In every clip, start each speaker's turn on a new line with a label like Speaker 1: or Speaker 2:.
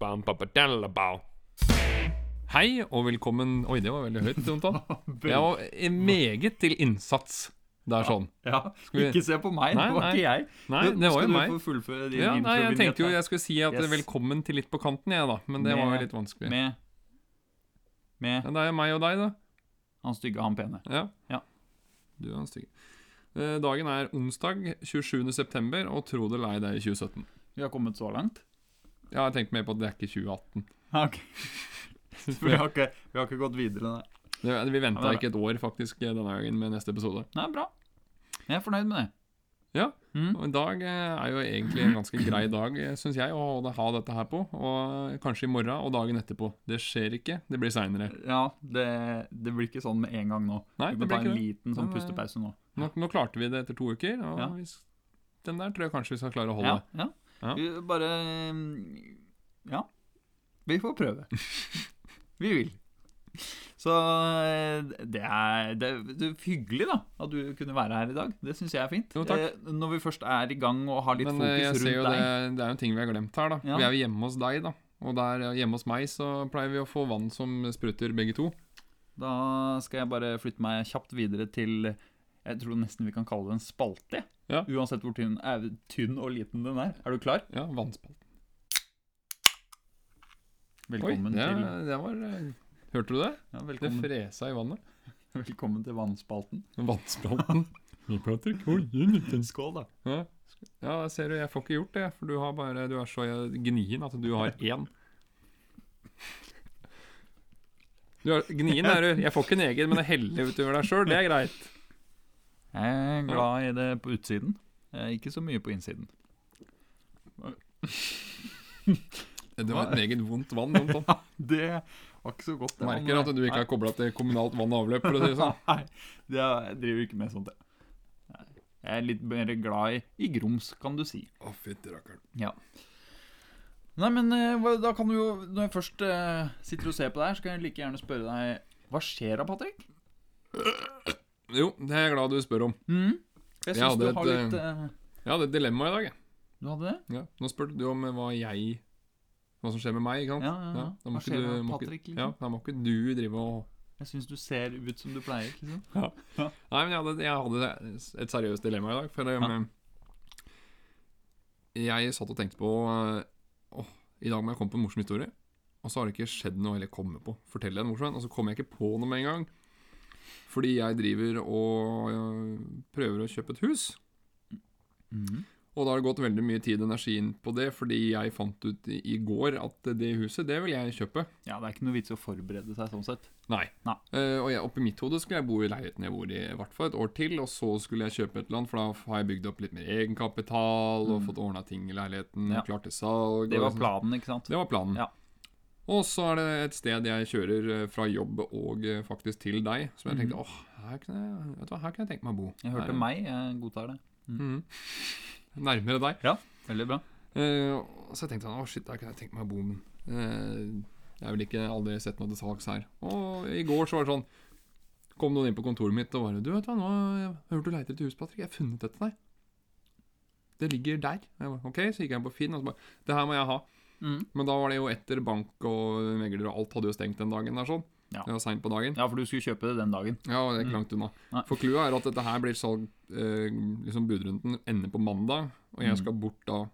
Speaker 1: bam, ba, ba, dalla, bao. Hei og velkommen Oi, det var veldig høyt, Jontan. Jeg var eh, meget til innsats. Det er sånn.
Speaker 2: Ja,
Speaker 1: vi-
Speaker 2: Ikke se på meg,
Speaker 1: Nei,
Speaker 2: det var
Speaker 1: nei.
Speaker 2: ikke jeg.
Speaker 1: Nei, det var jo meg.
Speaker 2: Skal du få fullføre din
Speaker 1: Ja, nei, jeg
Speaker 2: introvignett
Speaker 1: tenkte jo
Speaker 2: der?
Speaker 1: jeg skulle si at
Speaker 2: Yes.
Speaker 1: velkommen til litt på kanten, jeg, da. Men det var jo
Speaker 2: Med-
Speaker 1: litt vanskelig.
Speaker 2: Med, med
Speaker 1: Ja, det er meg og deg, da.
Speaker 2: han stygge, han pene.
Speaker 1: Ja.
Speaker 2: Ja.
Speaker 1: Du er en stygg. Eh, Dagen er onsdag 27. september, og tro det lei deg i 2017.
Speaker 2: Vi har kommet så langt.
Speaker 1: Ja, jeg tenkte mer på at det er ikke 2018.
Speaker 2: Ja, ok. For vi har ikke, vi har ikke gått videre der.
Speaker 1: Det, vi venta
Speaker 2: Ja, det er
Speaker 1: ikke et år, faktisk, denne gangen med neste episode.
Speaker 2: Nei, bra. Jeg er fornøyd med det.
Speaker 1: Ja.
Speaker 2: Mm.
Speaker 1: Og i dag eh, er jo egentlig en ganske grei dag, syns jeg, å ha- ha dette her på. Og eh, kanskje i morgen og dagen etterpå. Det skjer ikke, det blir seinere.
Speaker 2: Ja, det, det blir ikke sånn med en gang nå.
Speaker 1: Nei, det
Speaker 2: Vi må
Speaker 1: blir
Speaker 2: ta en
Speaker 1: ikke det.
Speaker 2: liten sånn
Speaker 1: Men, eh,
Speaker 2: pustepause nå.
Speaker 1: Nå, nå klarte vi det etter to uker, og
Speaker 2: Ja.
Speaker 1: hvis, den der tror jeg kanskje vi skal klare å holde.
Speaker 2: Ja, ja.
Speaker 1: Ja.
Speaker 2: Vi bare mm, Ja. Vi får prøve. Vi vil. Så eh, det er, det, det er hyggelig da, at du kunne være her i dag. Det syns jeg er fint.
Speaker 1: Jo, takk.
Speaker 2: Eh, Når vi først er i gang og har litt
Speaker 1: Men eh,
Speaker 2: fokus
Speaker 1: jeg
Speaker 2: rundt
Speaker 1: ser jo det,
Speaker 2: deg.
Speaker 1: det er jo en ting vi har glemt her, da.
Speaker 2: Ja.
Speaker 1: Vi er jo hjemme hos deg, da. Og der eh, hjemme hos meg så pleier vi å få vann som spruter, begge to.
Speaker 2: Da skal jeg bare flytte meg kjapt videre til Jeg tror nesten vi kan kalle det en spalte.
Speaker 1: Ja.
Speaker 2: Uansett hvor tynn, eh, tynn og liten den er. Er du klar?
Speaker 1: Ja, vannspalt.
Speaker 2: Velkommen,
Speaker 1: Oi, det,
Speaker 2: til,
Speaker 1: det var eh, Hørte du det?
Speaker 2: ja,
Speaker 1: Det
Speaker 2: velkommen,
Speaker 1: fresa i vannet.
Speaker 2: velkommen til vannspalten.
Speaker 1: Vannspalten. Vi prater ikke
Speaker 2: Skål, da.
Speaker 1: Ja, Ja, jeg ser du, jeg får ikke gjort det, for du, har bare, du er så gnien at du har én. Du er, gnien er du. Jeg får ikke en egen, men jeg heller utover deg sjøl. Det er greit.
Speaker 2: Jeg er glad i det på utsiden. Eh, Ikke så mye på innsiden.
Speaker 1: Det var et meget vondt vann. Anton.
Speaker 2: Det var ikke så godt. det
Speaker 1: Merker at du ikke er kobla til kommunalt vann og avløp. For å si det sånn.
Speaker 2: Nei, det er, jeg driver ikke med sånt. jeg. Nei. Jeg er litt mer glad i, i grums, kan du si.
Speaker 1: Å, fytti rakkeren.
Speaker 2: Nei, men eh, hva- da kan du jo Når jeg først eh, sitter og ser på deg, her, så kan jeg like gjerne spørre deg Hva skjer da, Patrick?
Speaker 1: Jo, det er jeg glad du spør om.
Speaker 2: Mhm. Jeg
Speaker 1: Jeg
Speaker 2: syns
Speaker 1: hadde
Speaker 2: du
Speaker 1: et,
Speaker 2: har litt eh,
Speaker 1: Jeg hadde et dilemma i dag. jeg.
Speaker 2: Du hadde det?
Speaker 1: Ja. Nå spurte du om hva jeg Hva som skjer med meg, ikke sant?
Speaker 2: Ja, ja, ja.
Speaker 1: da må
Speaker 2: Hva
Speaker 1: ikke
Speaker 2: skjer
Speaker 1: du-
Speaker 2: da,
Speaker 1: må ikke-
Speaker 2: Patrick?
Speaker 1: Ja,
Speaker 2: Liksom?
Speaker 1: da må ikke du drive og
Speaker 2: Jeg syns du ser ut som du pleier. liksom
Speaker 1: Nei, men jeg hadde, jeg hadde et seriøst dilemma i dag. For um, jeg satt og tenkte på uh, åh, I dag må jeg komme på en morsom historie. Og så har det ikke skjedd noe eller komme på. Fortell deg en morsom en, og så kommer jeg ikke på noe med en gang. Fordi jeg driver og uh, prøver å kjøpe et hus.
Speaker 2: Mhm.
Speaker 1: Og da har det gått veldig mye tid og energi inn på det, fordi jeg fant ut i i går at det huset, det vil jeg kjøpe.
Speaker 2: Ja, det er ikke noe vits i å forberede seg sånn sett.
Speaker 1: Nei.
Speaker 2: Nei.
Speaker 1: Eh, og jeg, oppi mitt hode skulle jeg bo i leiligheten jeg bor i i hvert fall et år til, og så skulle jeg kjøpe et eller annet, for da har jeg bygd opp litt mer egenkapital og
Speaker 2: Mm.
Speaker 1: fått ordna ting i leiligheten,
Speaker 2: Ja.
Speaker 1: klart til salg.
Speaker 2: Det
Speaker 1: og
Speaker 2: var
Speaker 1: liksom-
Speaker 2: planen, ikke sant?
Speaker 1: Det var planen.
Speaker 2: Ja.
Speaker 1: Og så er det et sted jeg kjører eh, fra jobb og eh, faktisk til deg, som jeg
Speaker 2: Mhm.
Speaker 1: tenkte åh, her kan jeg, vet du hva, her kan jeg tenke meg å bo.
Speaker 2: Jeg hørte
Speaker 1: Her-
Speaker 2: meg, jeg godtar det.
Speaker 1: Mhm. Nærmere deg.
Speaker 2: Veldig bra.
Speaker 1: Eh, og så tenkte han, å shit, der kunne jeg tenkt meg å bo men, eh, Jeg har vel ikke aldri sett noe til salgs her Og i går så var det sånn Kom noen inn på kontoret mitt og bare Du vet hva, nå har jeg hørt du leter etter hus, Patrick Jeg har funnet dette til deg Det ligger der Og jeg bare, Ok, så gikk jeg på Finn og så bare Det her må jeg ha
Speaker 2: Mhm.
Speaker 1: Men da var det jo etter bank og megler og alt Hadde jo stengt den dagen der sånn
Speaker 2: Ja.
Speaker 1: Det var sent på dagen
Speaker 2: Ja, for du skulle kjøpe det den dagen.
Speaker 1: ja, og det er ikke langt unna.
Speaker 2: Mm. Nei.
Speaker 1: For clouet er at dette her blir salg eh, liksom Budrunden ender på mandag, og jeg
Speaker 2: Mm.
Speaker 1: skal bort da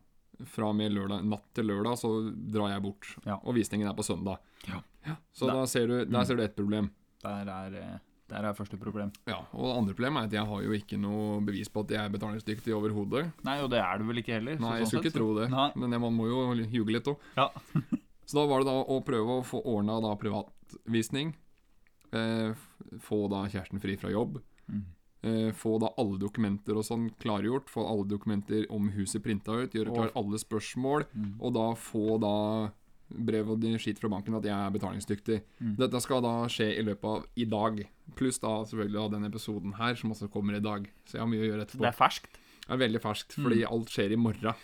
Speaker 1: fra og med lørdag, natt til lørdag, så drar jeg bort.
Speaker 2: Ja.
Speaker 1: Og visningen er på søndag.
Speaker 2: Ja.
Speaker 1: så
Speaker 2: Da-
Speaker 1: da ser du, der
Speaker 2: Mm.
Speaker 1: ser du ett problem.
Speaker 2: Der er, eh, der er første problem.
Speaker 1: Ja, Og det andre problemet er at jeg har jo ikke noe bevis på at jeg er betalingsdyktig overhodet.
Speaker 2: Nei, og det er du vel ikke heller? så
Speaker 1: Nei, jeg
Speaker 2: sånn
Speaker 1: skulle
Speaker 2: sett,
Speaker 1: ikke tro det,
Speaker 2: Nei.
Speaker 1: men jeg, man må jo ljuge litt òg.
Speaker 2: Ja.
Speaker 1: så da var det da å prøve å få ordna da privatvisning. Eh, f- få da kjæresten fri fra jobb.
Speaker 2: Mm.
Speaker 1: Eh, få da alle dokumenter og sånn klargjort. Få alle dokumenter om huset printa ut. Gjøre klar alle spørsmål.
Speaker 2: Mm.
Speaker 1: Og da få da brev og din skitt fra banken at jeg er betalingsdyktig.
Speaker 2: Mm.
Speaker 1: Dette skal da skje i løpet av i dag. Pluss da selvfølgelig av denne episoden her, som også kommer i dag. Så jeg har mye å gjøre
Speaker 2: Så det
Speaker 1: etterpå.
Speaker 2: er Mm. ferskt.
Speaker 1: Det er veldig ferskt, fordi alt skjer i morgen.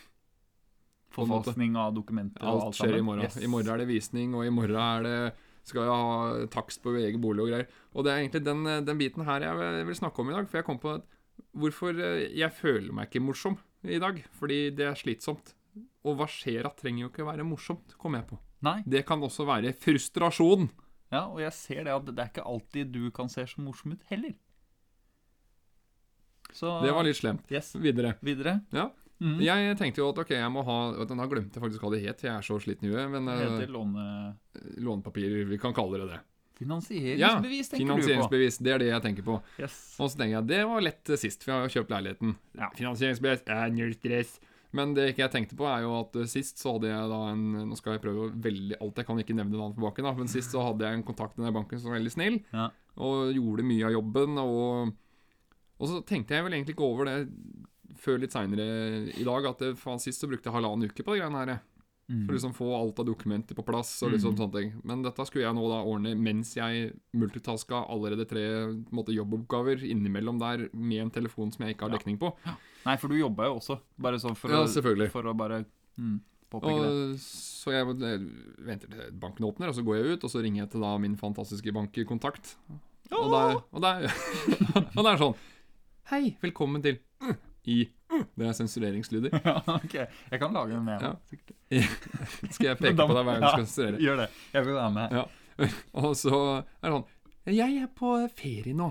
Speaker 1: på en måte.
Speaker 2: Forfalskning av dokumenter og
Speaker 1: Alt
Speaker 2: alt
Speaker 1: skjer i
Speaker 2: sammen.
Speaker 1: morgen.
Speaker 2: Yes.
Speaker 1: I morgen er det visning, og i morgen er det skal jeg ha takst på egen bolig og greier. Og det er egentlig den, eh, den biten her jeg vil snakke om i dag, for jeg kom på at hvorfor eh, jeg føler meg ikke morsom i dag. Fordi det er slitsomt. Og hva skjer at trenger jo ikke være morsomt, kom jeg på.
Speaker 2: Nei.
Speaker 1: Det kan også være frustrasjon.
Speaker 2: Ja, og jeg ser det at det er ikke alltid du kan se så morsom ut heller. Så
Speaker 1: Det var litt slemt.
Speaker 2: Yes.
Speaker 1: Videre.
Speaker 2: Videre.
Speaker 1: Ja.
Speaker 2: Mhm.
Speaker 1: Jeg tenkte jo at ok, jeg må ha og Da glemte jeg faktisk hva det het. Jeg er så sliten i huet. Men
Speaker 2: Det
Speaker 1: eh,
Speaker 2: heter låne...
Speaker 1: lånepapirer, vi kan kalle det det.
Speaker 2: Finansieringsbevis, tenker du
Speaker 1: Finansieringsbevis. Det er det jeg tenker på.
Speaker 2: på. Yes.
Speaker 1: Og så tenker jeg, det var lett eh, sist, for jeg har jo kjøpt leiligheten.
Speaker 2: Ja.
Speaker 1: Finansieringsbevis, eh, null stress. Men det ikke jeg tenkte på, er jo at eh, sist så hadde jeg da en Nå skal jeg prøve å veldig alt jeg kan, ikke nevne navn på baken, da, men sist så hadde jeg en kontakt med den banken som var veldig snill,
Speaker 2: Ja.
Speaker 1: og gjorde mye av jobben, og Og så tenkte jeg vel egentlig ikke over det før litt seinere i dag, at eh, faen, sist så brukte jeg halvannen uke på de greiene her, jeg.
Speaker 2: Mm.
Speaker 1: For å liksom få alt av dokumenter på plass og liksom sånne ting. Men dette skulle jeg nå da ordne mens jeg multitaska allerede tre på en måte, jobboppgaver innimellom der med en telefon som jeg ikke har
Speaker 2: Ja.
Speaker 1: dekning på.
Speaker 2: Nei, for du jobba jo også, bare sånn for,
Speaker 1: Ja,
Speaker 2: å,
Speaker 1: selvfølgelig.
Speaker 2: for å bare mm, påpeke det.
Speaker 1: Og, så jeg eh, venter til banken åpner, og så går jeg ut, og så ringer jeg til da min fantastiske bankkontakt. Og det er, og det er, og det er sånn Hei, velkommen til I.
Speaker 2: Mm.
Speaker 1: Det er sensureringslyder.
Speaker 2: Ja, ok. Jeg kan lage en med.
Speaker 1: Ja.
Speaker 2: sikkert.
Speaker 1: Skal jeg peke på deg hver gang du skal sensurere?
Speaker 2: Gjør det. Jeg vil være med.
Speaker 1: Ja. Og så er det sånn Jeg er på ferie nå.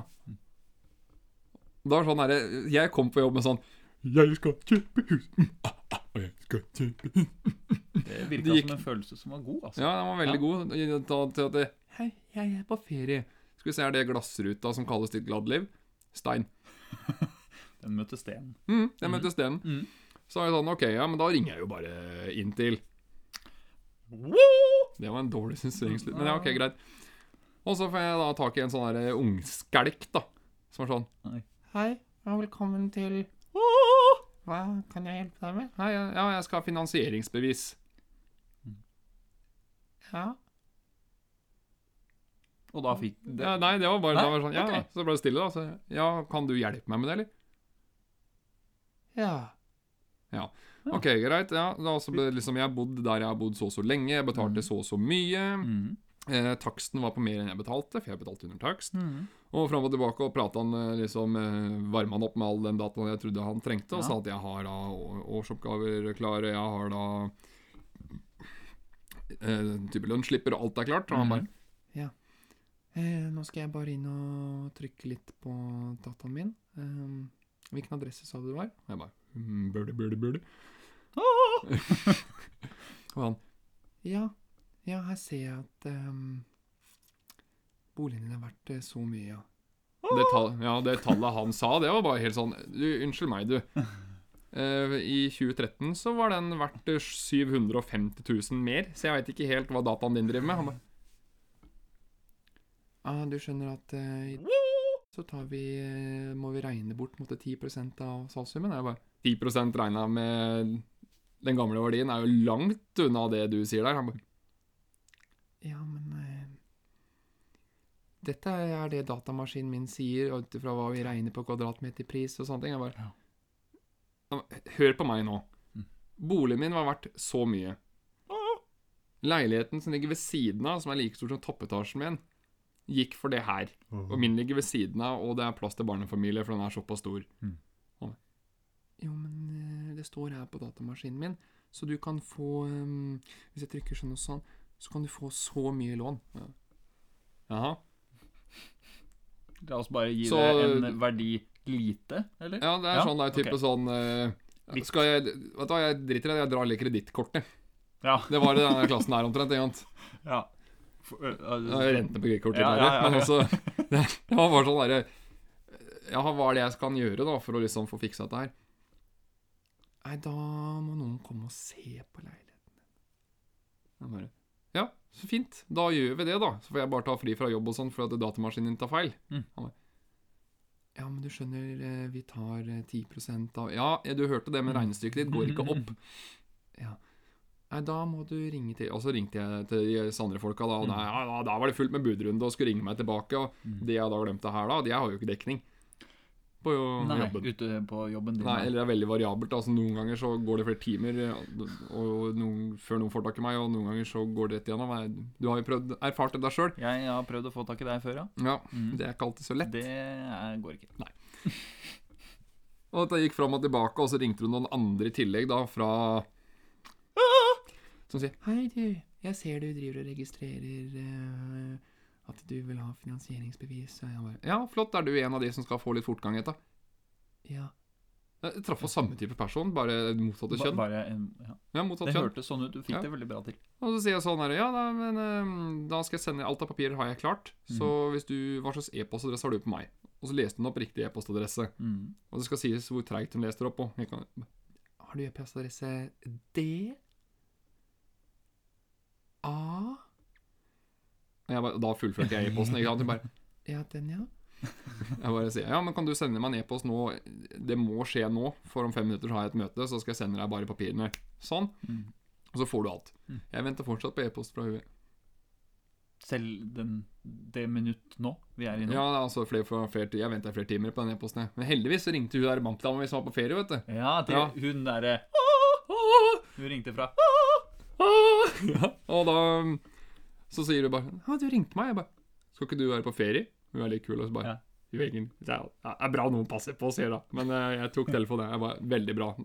Speaker 1: Da er det sånn derre Jeg kom på jobb med sånn Jeg skal kjøpe hus. Mm, ah, ah, og jeg skal kjøpe hus.
Speaker 2: Det
Speaker 1: Det
Speaker 2: virka
Speaker 1: gikk-
Speaker 2: som en følelse som var god, altså.
Speaker 1: Ja, den var veldig
Speaker 2: Ja.
Speaker 1: god. i det tatt Til at det, Hei, jeg er på ferie. Skal vi se, er det glassruta som kalles ditt gladliv? Stein.
Speaker 2: Den møtte sten.
Speaker 1: Mm, jeg møtte Sten.
Speaker 2: Mm.
Speaker 1: Så er det sånn, ok, ja, men da ringer jeg jo bare inn til
Speaker 2: Woo!
Speaker 1: Det var en dårlig sensureringslyd, men ja, ok, greit. Og så får jeg da tak i en sånn der ungskelk, da, som er sånn
Speaker 2: Nei.
Speaker 1: Hei, og velkommen til Hva kan jeg hjelpe deg med? Hei, ja, ja, jeg skal ha finansieringsbevis.
Speaker 2: Mm.
Speaker 1: Ja.
Speaker 2: Og da fikk
Speaker 1: ja Nei, det var bare
Speaker 2: Nei,
Speaker 1: det var sånn, ja,
Speaker 2: ok.
Speaker 1: Så ble det stille, da. Så, ja, kan du hjelpe meg med det, eller? Ja. Ja. Ok, greit. Ja, da, så ble det liksom, jeg har bodd der jeg har bodd så og så lenge. Jeg betalte så og så mye.
Speaker 2: Mhm.
Speaker 1: Eh, taksten var på mer enn jeg betalte, for jeg betalte under takst.
Speaker 2: Mhm.
Speaker 1: Og fram og tilbake og prata han eh, liksom eh, Varma han opp med all den dataen jeg trodde han trengte, og
Speaker 2: Ja.
Speaker 1: sa at jeg har da å- årsoppgaver klare, jeg har da eh, type lønnsslipper, og alt er klart. Og han bare Ja. Mhm. Eh, nå skal jeg bare inn og trykke litt på dataen min. Ehm, hvilken adresse sa du det var? Og jeg bare mm, Burde, burde, burde.
Speaker 2: Ah!
Speaker 1: Og han Ja, ja her ser jeg at ehm, boligen din er verdt eh, så mye, ja. Det, tall, ja, det tallet han sa, det var bare helt sånn Du, unnskyld meg, du. Eh, I 2013 så var den verdt eh, 750 000 mer, så jeg veit ikke helt hva dataen din driver med. Han bare Ja, Ah, du skjønner at eh, i- så tar vi, eh, må vi regne bort på en måte, 10 av salgssummen. Jeg bare 10 regna med den gamle verdien er jo langt unna det du sier der. Han bare Ja, men eh, Dette er det datamaskinen min sier, og ut ifra hva vi regner på kvadratmeterpris og sånne ting. Jeg bare
Speaker 2: Ja.
Speaker 1: Han bare, Hør på meg nå.
Speaker 2: Mm.
Speaker 1: Boligen min var verdt så mye. Leiligheten som ligger ved siden av, som er like stor som toppetasjen min, gikk for det her. Og
Speaker 2: Mhm.
Speaker 1: min ligger ved siden av, og det er plass til barnefamilie, for den er såpass stor.
Speaker 2: Mm.
Speaker 1: Han bare, Jo, men eh, det står her på datamaskinen min, så du kan få eh, Hvis jeg trykker sånn og sånn, så kan du få så mye lån. Ja. Jaha.
Speaker 2: La oss bare gi
Speaker 1: Så-
Speaker 2: det en verdi lite, eller?
Speaker 1: Ja, det er
Speaker 2: Ja,
Speaker 1: sånn. Det er type
Speaker 2: ok.
Speaker 1: sånn eh,
Speaker 2: Litt.
Speaker 1: skal jeg, vet du hva, jeg driter i det, jeg drar litt kredittkortet.
Speaker 2: Ja.
Speaker 1: Det var i denne klassen her omtrent. ikke sant?
Speaker 2: ja. For, øh, øh,
Speaker 1: Det er Rentene på kredittkortet,
Speaker 2: Ja,
Speaker 1: ja,
Speaker 2: ja, ja, ja.
Speaker 1: men også det, det var bare sånn derre Ja, hva er det jeg kan gjøre da for å liksom få fiksa dette her? Nei, da må noen komme og se på leiligheten din. Jeg bare Ja, så fint. Da gjør vi det, da. Så får jeg bare ta fri fra jobb og sånn fordi at datamaskinen din tar feil.
Speaker 2: Mm.
Speaker 1: Han bare Ja, men du skjønner, eh, vi tar eh, 10 av Ja, eh, du hørte det, men
Speaker 2: Mm.
Speaker 1: regnestykket ditt går ikke opp. Ja. Nei, da må du ringe til Og så ringte jeg til de andre folka, da. Og
Speaker 2: Mm.
Speaker 1: da, ja, da, da var det fullt med budrunde og skulle ringe meg tilbake. Og det jeg da glemte her, da, de har jo ikke dekning på jo,
Speaker 2: Nei,
Speaker 1: jobben.
Speaker 2: ute på jobben din.
Speaker 1: Nei,
Speaker 2: da.
Speaker 1: eller det er veldig variabelt. Altså, noen ganger så går det flere timer ja, og noen, før noen får tak i meg, og noen ganger så går det rett igjennom. Nei, Du har jo prøvd, erfart det deg sjøl.
Speaker 2: Jeg har prøvd å få tak i deg før, ja.
Speaker 1: Ja,
Speaker 2: Mm.
Speaker 1: det er ikke alltid så lett.
Speaker 2: Det er, går ikke. Nei.
Speaker 1: Og dette gikk fram og tilbake, og så ringte hun noen andre i tillegg, da, fra Som sier Hei, du. Jeg ser du driver og registrerer eh, at du vil ha finansieringsbevis. Og jeg bare, ja, flott. Er du en av de som skal få litt fortgang etter? Ja. Jeg traff oss samme type person, bare motsatte
Speaker 2: Ba-
Speaker 1: kjønn.
Speaker 2: Bare en, ja.
Speaker 1: Ja, motsatt
Speaker 2: Det
Speaker 1: kjønn.
Speaker 2: hørtes sånn ut. Du fikk
Speaker 1: Ja.
Speaker 2: det veldig bra til.
Speaker 1: Og så sier jeg sånn her Ja, da, men ehm, da skal jeg sende Alt av papirer har jeg klart. Så hvis du Hva slags e-postadresse har du på meg? Og så leste hun opp riktig e-postadresse.
Speaker 2: Mm.
Speaker 1: Og det skal sies hvor treigt hun leser opp. Og jeg kan, har du e-postadresse D? A? Og jeg bare, da fullførte jeg e-posten. Ikke sant? Hun bare Ja, den, ja. Jeg bare sier ja, men kan du sende meg en e-post nå? Det må skje nå, for om fem minutter så har jeg et møte, så skal jeg sende deg bare papirene. Sånn.
Speaker 2: Mm.
Speaker 1: Og så får du alt.
Speaker 2: Mm.
Speaker 1: Jeg venter fortsatt på e-post fra henne.
Speaker 2: Selv den, det minutt nå vi er i nå.
Speaker 1: Ja, altså flere, for, flere, Jeg venta flere timer på den e-posten. jeg. Men heldigvis så ringte hun der bankdama vi som var på ferie, vet du.
Speaker 2: Ja, til
Speaker 1: Ja.
Speaker 2: hun derre Hun ringte fra
Speaker 1: Ja, og da um, så sier hun bare 'Ja, du ringte meg.' Jeg bare 'Skal ikke du være på ferie?' Hun er litt kul. Og så bare
Speaker 2: Ja.
Speaker 1: «Jo, egentlig, Det er, det er bra noen passer på, sier hun da. Men eh, jeg tok telefonen. Jeg bare 'Veldig bra.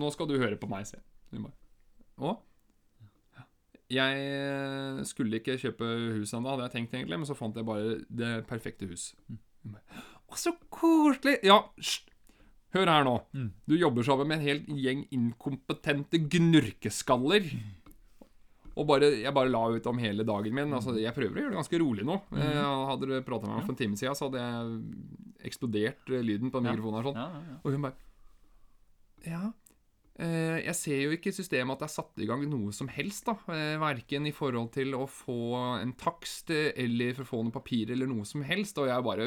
Speaker 1: Nå skal du høre på meg', sier hun. Hun bare 'Å?' Jeg eh, skulle ikke kjøpe hus ennå, hadde jeg tenkt egentlig, men så fant jeg bare det perfekte hus.
Speaker 2: Mm.
Speaker 1: Hun bare, Å, så koselig! Ja, hysj! Hør her nå.
Speaker 2: Mm.
Speaker 1: Du jobber sammen med en hel gjeng inkompetente gnurkeskaller.
Speaker 2: Mm.
Speaker 1: Og bare, jeg bare la ut om hele dagen min.
Speaker 2: Mm.
Speaker 1: Altså, jeg prøver å gjøre det ganske rolig nå. Eh, Hadde du prata med meg for en time siden, så hadde jeg eksplodert eh, lyden på
Speaker 2: Ja.
Speaker 1: mikrofonen. her sånn.
Speaker 2: ja, ja, ja.
Speaker 1: Og hun bare Ja. Eh, jeg ser jo ikke i systemet at det er satt i gang noe som helst, da. Eh, verken i forhold til å få en takst eh, eller for å få noen papirer eller noe som helst. Og jeg bare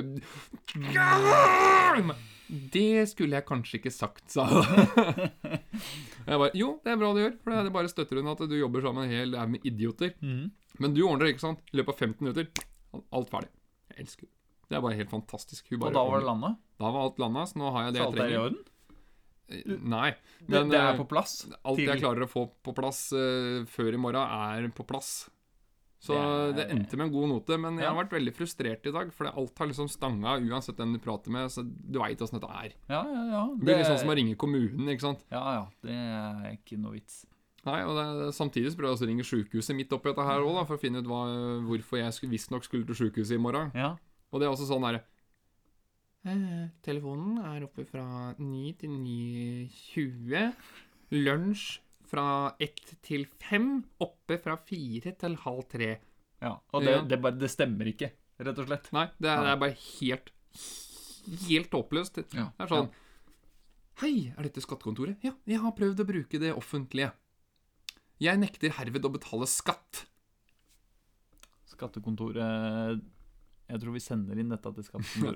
Speaker 1: Det skulle jeg kanskje ikke sagt, sa hun. Jeg bare Jo, det er bra du gjør, for det bare støtter hun at du jobber sammen med en hel haug med idioter.
Speaker 2: Mhm.
Speaker 1: Men du ordner det, ikke sant? I løpet av 15 minutter. Alt ferdig. Jeg elsker det. Det er bare helt fantastisk. Hun
Speaker 2: Og
Speaker 1: bare
Speaker 2: da var det landa?
Speaker 1: Da var alt landa, så nå har jeg det
Speaker 2: Så
Speaker 1: jeg
Speaker 2: alt er i
Speaker 1: trenger.
Speaker 2: orden?
Speaker 1: Nei.
Speaker 2: Det,
Speaker 1: Men
Speaker 2: det er
Speaker 1: eh,
Speaker 2: på plass?
Speaker 1: alt
Speaker 2: til-
Speaker 1: jeg klarer å få på plass eh, før i morgen, er på plass. Så det,
Speaker 2: Det er-
Speaker 1: endte med en god note, men jeg har
Speaker 2: Ja.
Speaker 1: vært veldig frustrert i dag. For alt har liksom stanga uansett hvem du prater med. Så du veit åssen dette er.
Speaker 2: Ja, ja, ja.
Speaker 1: Det blir litt sånn som å ringe kommunen, ikke sant.
Speaker 2: Ja, ja. Det er ikke noe vits.
Speaker 1: Nei, og det, Samtidig så prøvde jeg også å ringe sjukehuset midt oppi dette her òg, for å finne ut hva, hvorfor jeg skulle- visstnok skulle til sjukehuset i morgen.
Speaker 2: Ja.
Speaker 1: Og det er også sånn derre Telefonen er oppe fra 9 til 9.20. Lunsj fra 1 til 5. Oppe fra 4 til halv 3.
Speaker 2: ja. Og det,
Speaker 1: Ja.
Speaker 2: det, bare, det stemmer ikke, rett og slett.
Speaker 1: Nei, det er,
Speaker 2: Nei.
Speaker 1: det er bare helt Helt håpløst.
Speaker 2: Ja.
Speaker 1: Det er sånn Hei, er dette skattekontoret? Ja, jeg har prøvd å bruke det offentlige. Jeg nekter herved å betale skatt.
Speaker 2: Skattekontoret Jeg tror vi sender inn dette til skattekontoret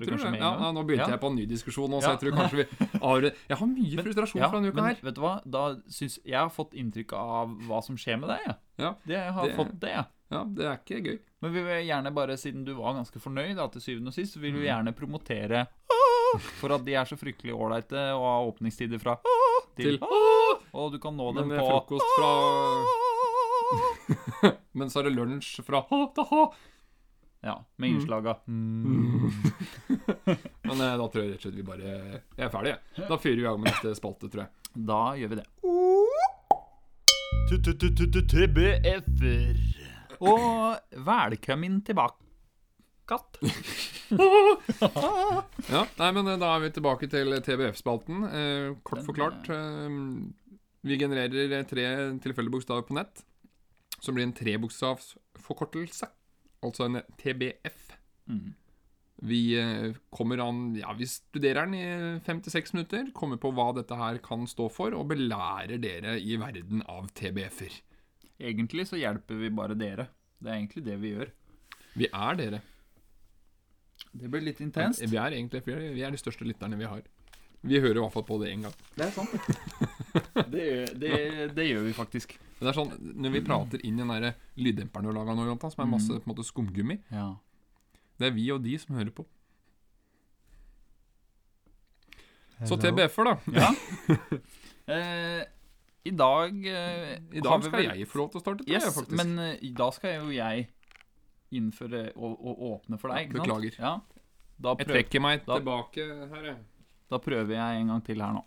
Speaker 1: Tror du
Speaker 2: kanskje
Speaker 1: det?
Speaker 2: med en
Speaker 1: Ja,
Speaker 2: gang.
Speaker 1: ja, nå begynte
Speaker 2: Ja.
Speaker 1: jeg på en ny diskusjon nå, så
Speaker 2: Ja.
Speaker 1: jeg tror kanskje vi har Jeg har mye
Speaker 2: Men-
Speaker 1: frustrasjon fra denne uka
Speaker 2: men
Speaker 1: her.
Speaker 2: vet du hva? Da syns jeg har fått inntrykk av hva som skjer med deg. jeg.
Speaker 1: Ja,
Speaker 2: det jeg har
Speaker 1: det-
Speaker 2: fått det, jeg.
Speaker 1: Ja, det er ikke gøy.
Speaker 2: Men vi vil gjerne bare, siden du var ganske fornøyd da, til syvende og sist, så vil vi gjerne promotere for at de er så fryktelig ålreite og har åpningstider fra til
Speaker 1: Til-
Speaker 2: Og du kan nå
Speaker 1: Men
Speaker 2: dem
Speaker 1: det er
Speaker 2: på Ah!
Speaker 1: frokost fra Men så er det lunsj fra ha til ha.
Speaker 2: Ja, med innslaga. Mm.
Speaker 1: Men eh, da tror jeg rett og slett vi bare Jeg er ferdig, jeg. Da fyrer vi av med neste spalte, tror jeg.
Speaker 2: Da gjør vi det. TBF-er. Og velkommen tilbake. Katt.
Speaker 1: Ja, nei, men eh, Da er vi tilbake til TBF-spalten. Eh, kort
Speaker 2: Den,
Speaker 1: forklart. Eh, vi genererer eh, tre tilfeldige bokstaver på nett, som blir en trebokstavsforkortelse. Altså en TBF.
Speaker 2: Mm.
Speaker 1: Vi eh, kommer an Ja, vi studerer den i fem til seks minutter, kommer på hva dette her kan stå for, og belærer dere i verden av TBF-er.
Speaker 2: Egentlig så hjelper vi bare dere. Det er egentlig det vi gjør.
Speaker 1: Vi er dere.
Speaker 2: Det blir litt intenst.
Speaker 1: Vi er egentlig flere. Vi er de største lytterne vi har. Vi hører i hvert fall på det én gang.
Speaker 2: Det er sant. Det, det, det gjør vi faktisk.
Speaker 1: Men det er sånn, Når vi prater inn i den der lyddemperen du har laga nå, Jonathan, som er masse
Speaker 2: Mm.
Speaker 1: på en måte skumgummi,
Speaker 2: Ja.
Speaker 1: det er vi og de som hører på. Så TBF-er, da.
Speaker 2: Ja. Eh, I dag eh,
Speaker 1: I
Speaker 2: har
Speaker 1: dag
Speaker 2: vi
Speaker 1: skal
Speaker 2: vel-
Speaker 1: jeg få lov til å starte. tror jeg,
Speaker 2: Yes,
Speaker 1: faktisk.
Speaker 2: men eh, i dag skal jo jeg innføre og, og åpne for deg,
Speaker 1: Ja,
Speaker 2: ikke sant?
Speaker 1: beklager.
Speaker 2: Ja. Da,
Speaker 1: jeg
Speaker 2: prøv,
Speaker 1: trekker meg
Speaker 2: Da-
Speaker 1: tilbake her, jeg.
Speaker 2: da prøver jeg en gang til her nå.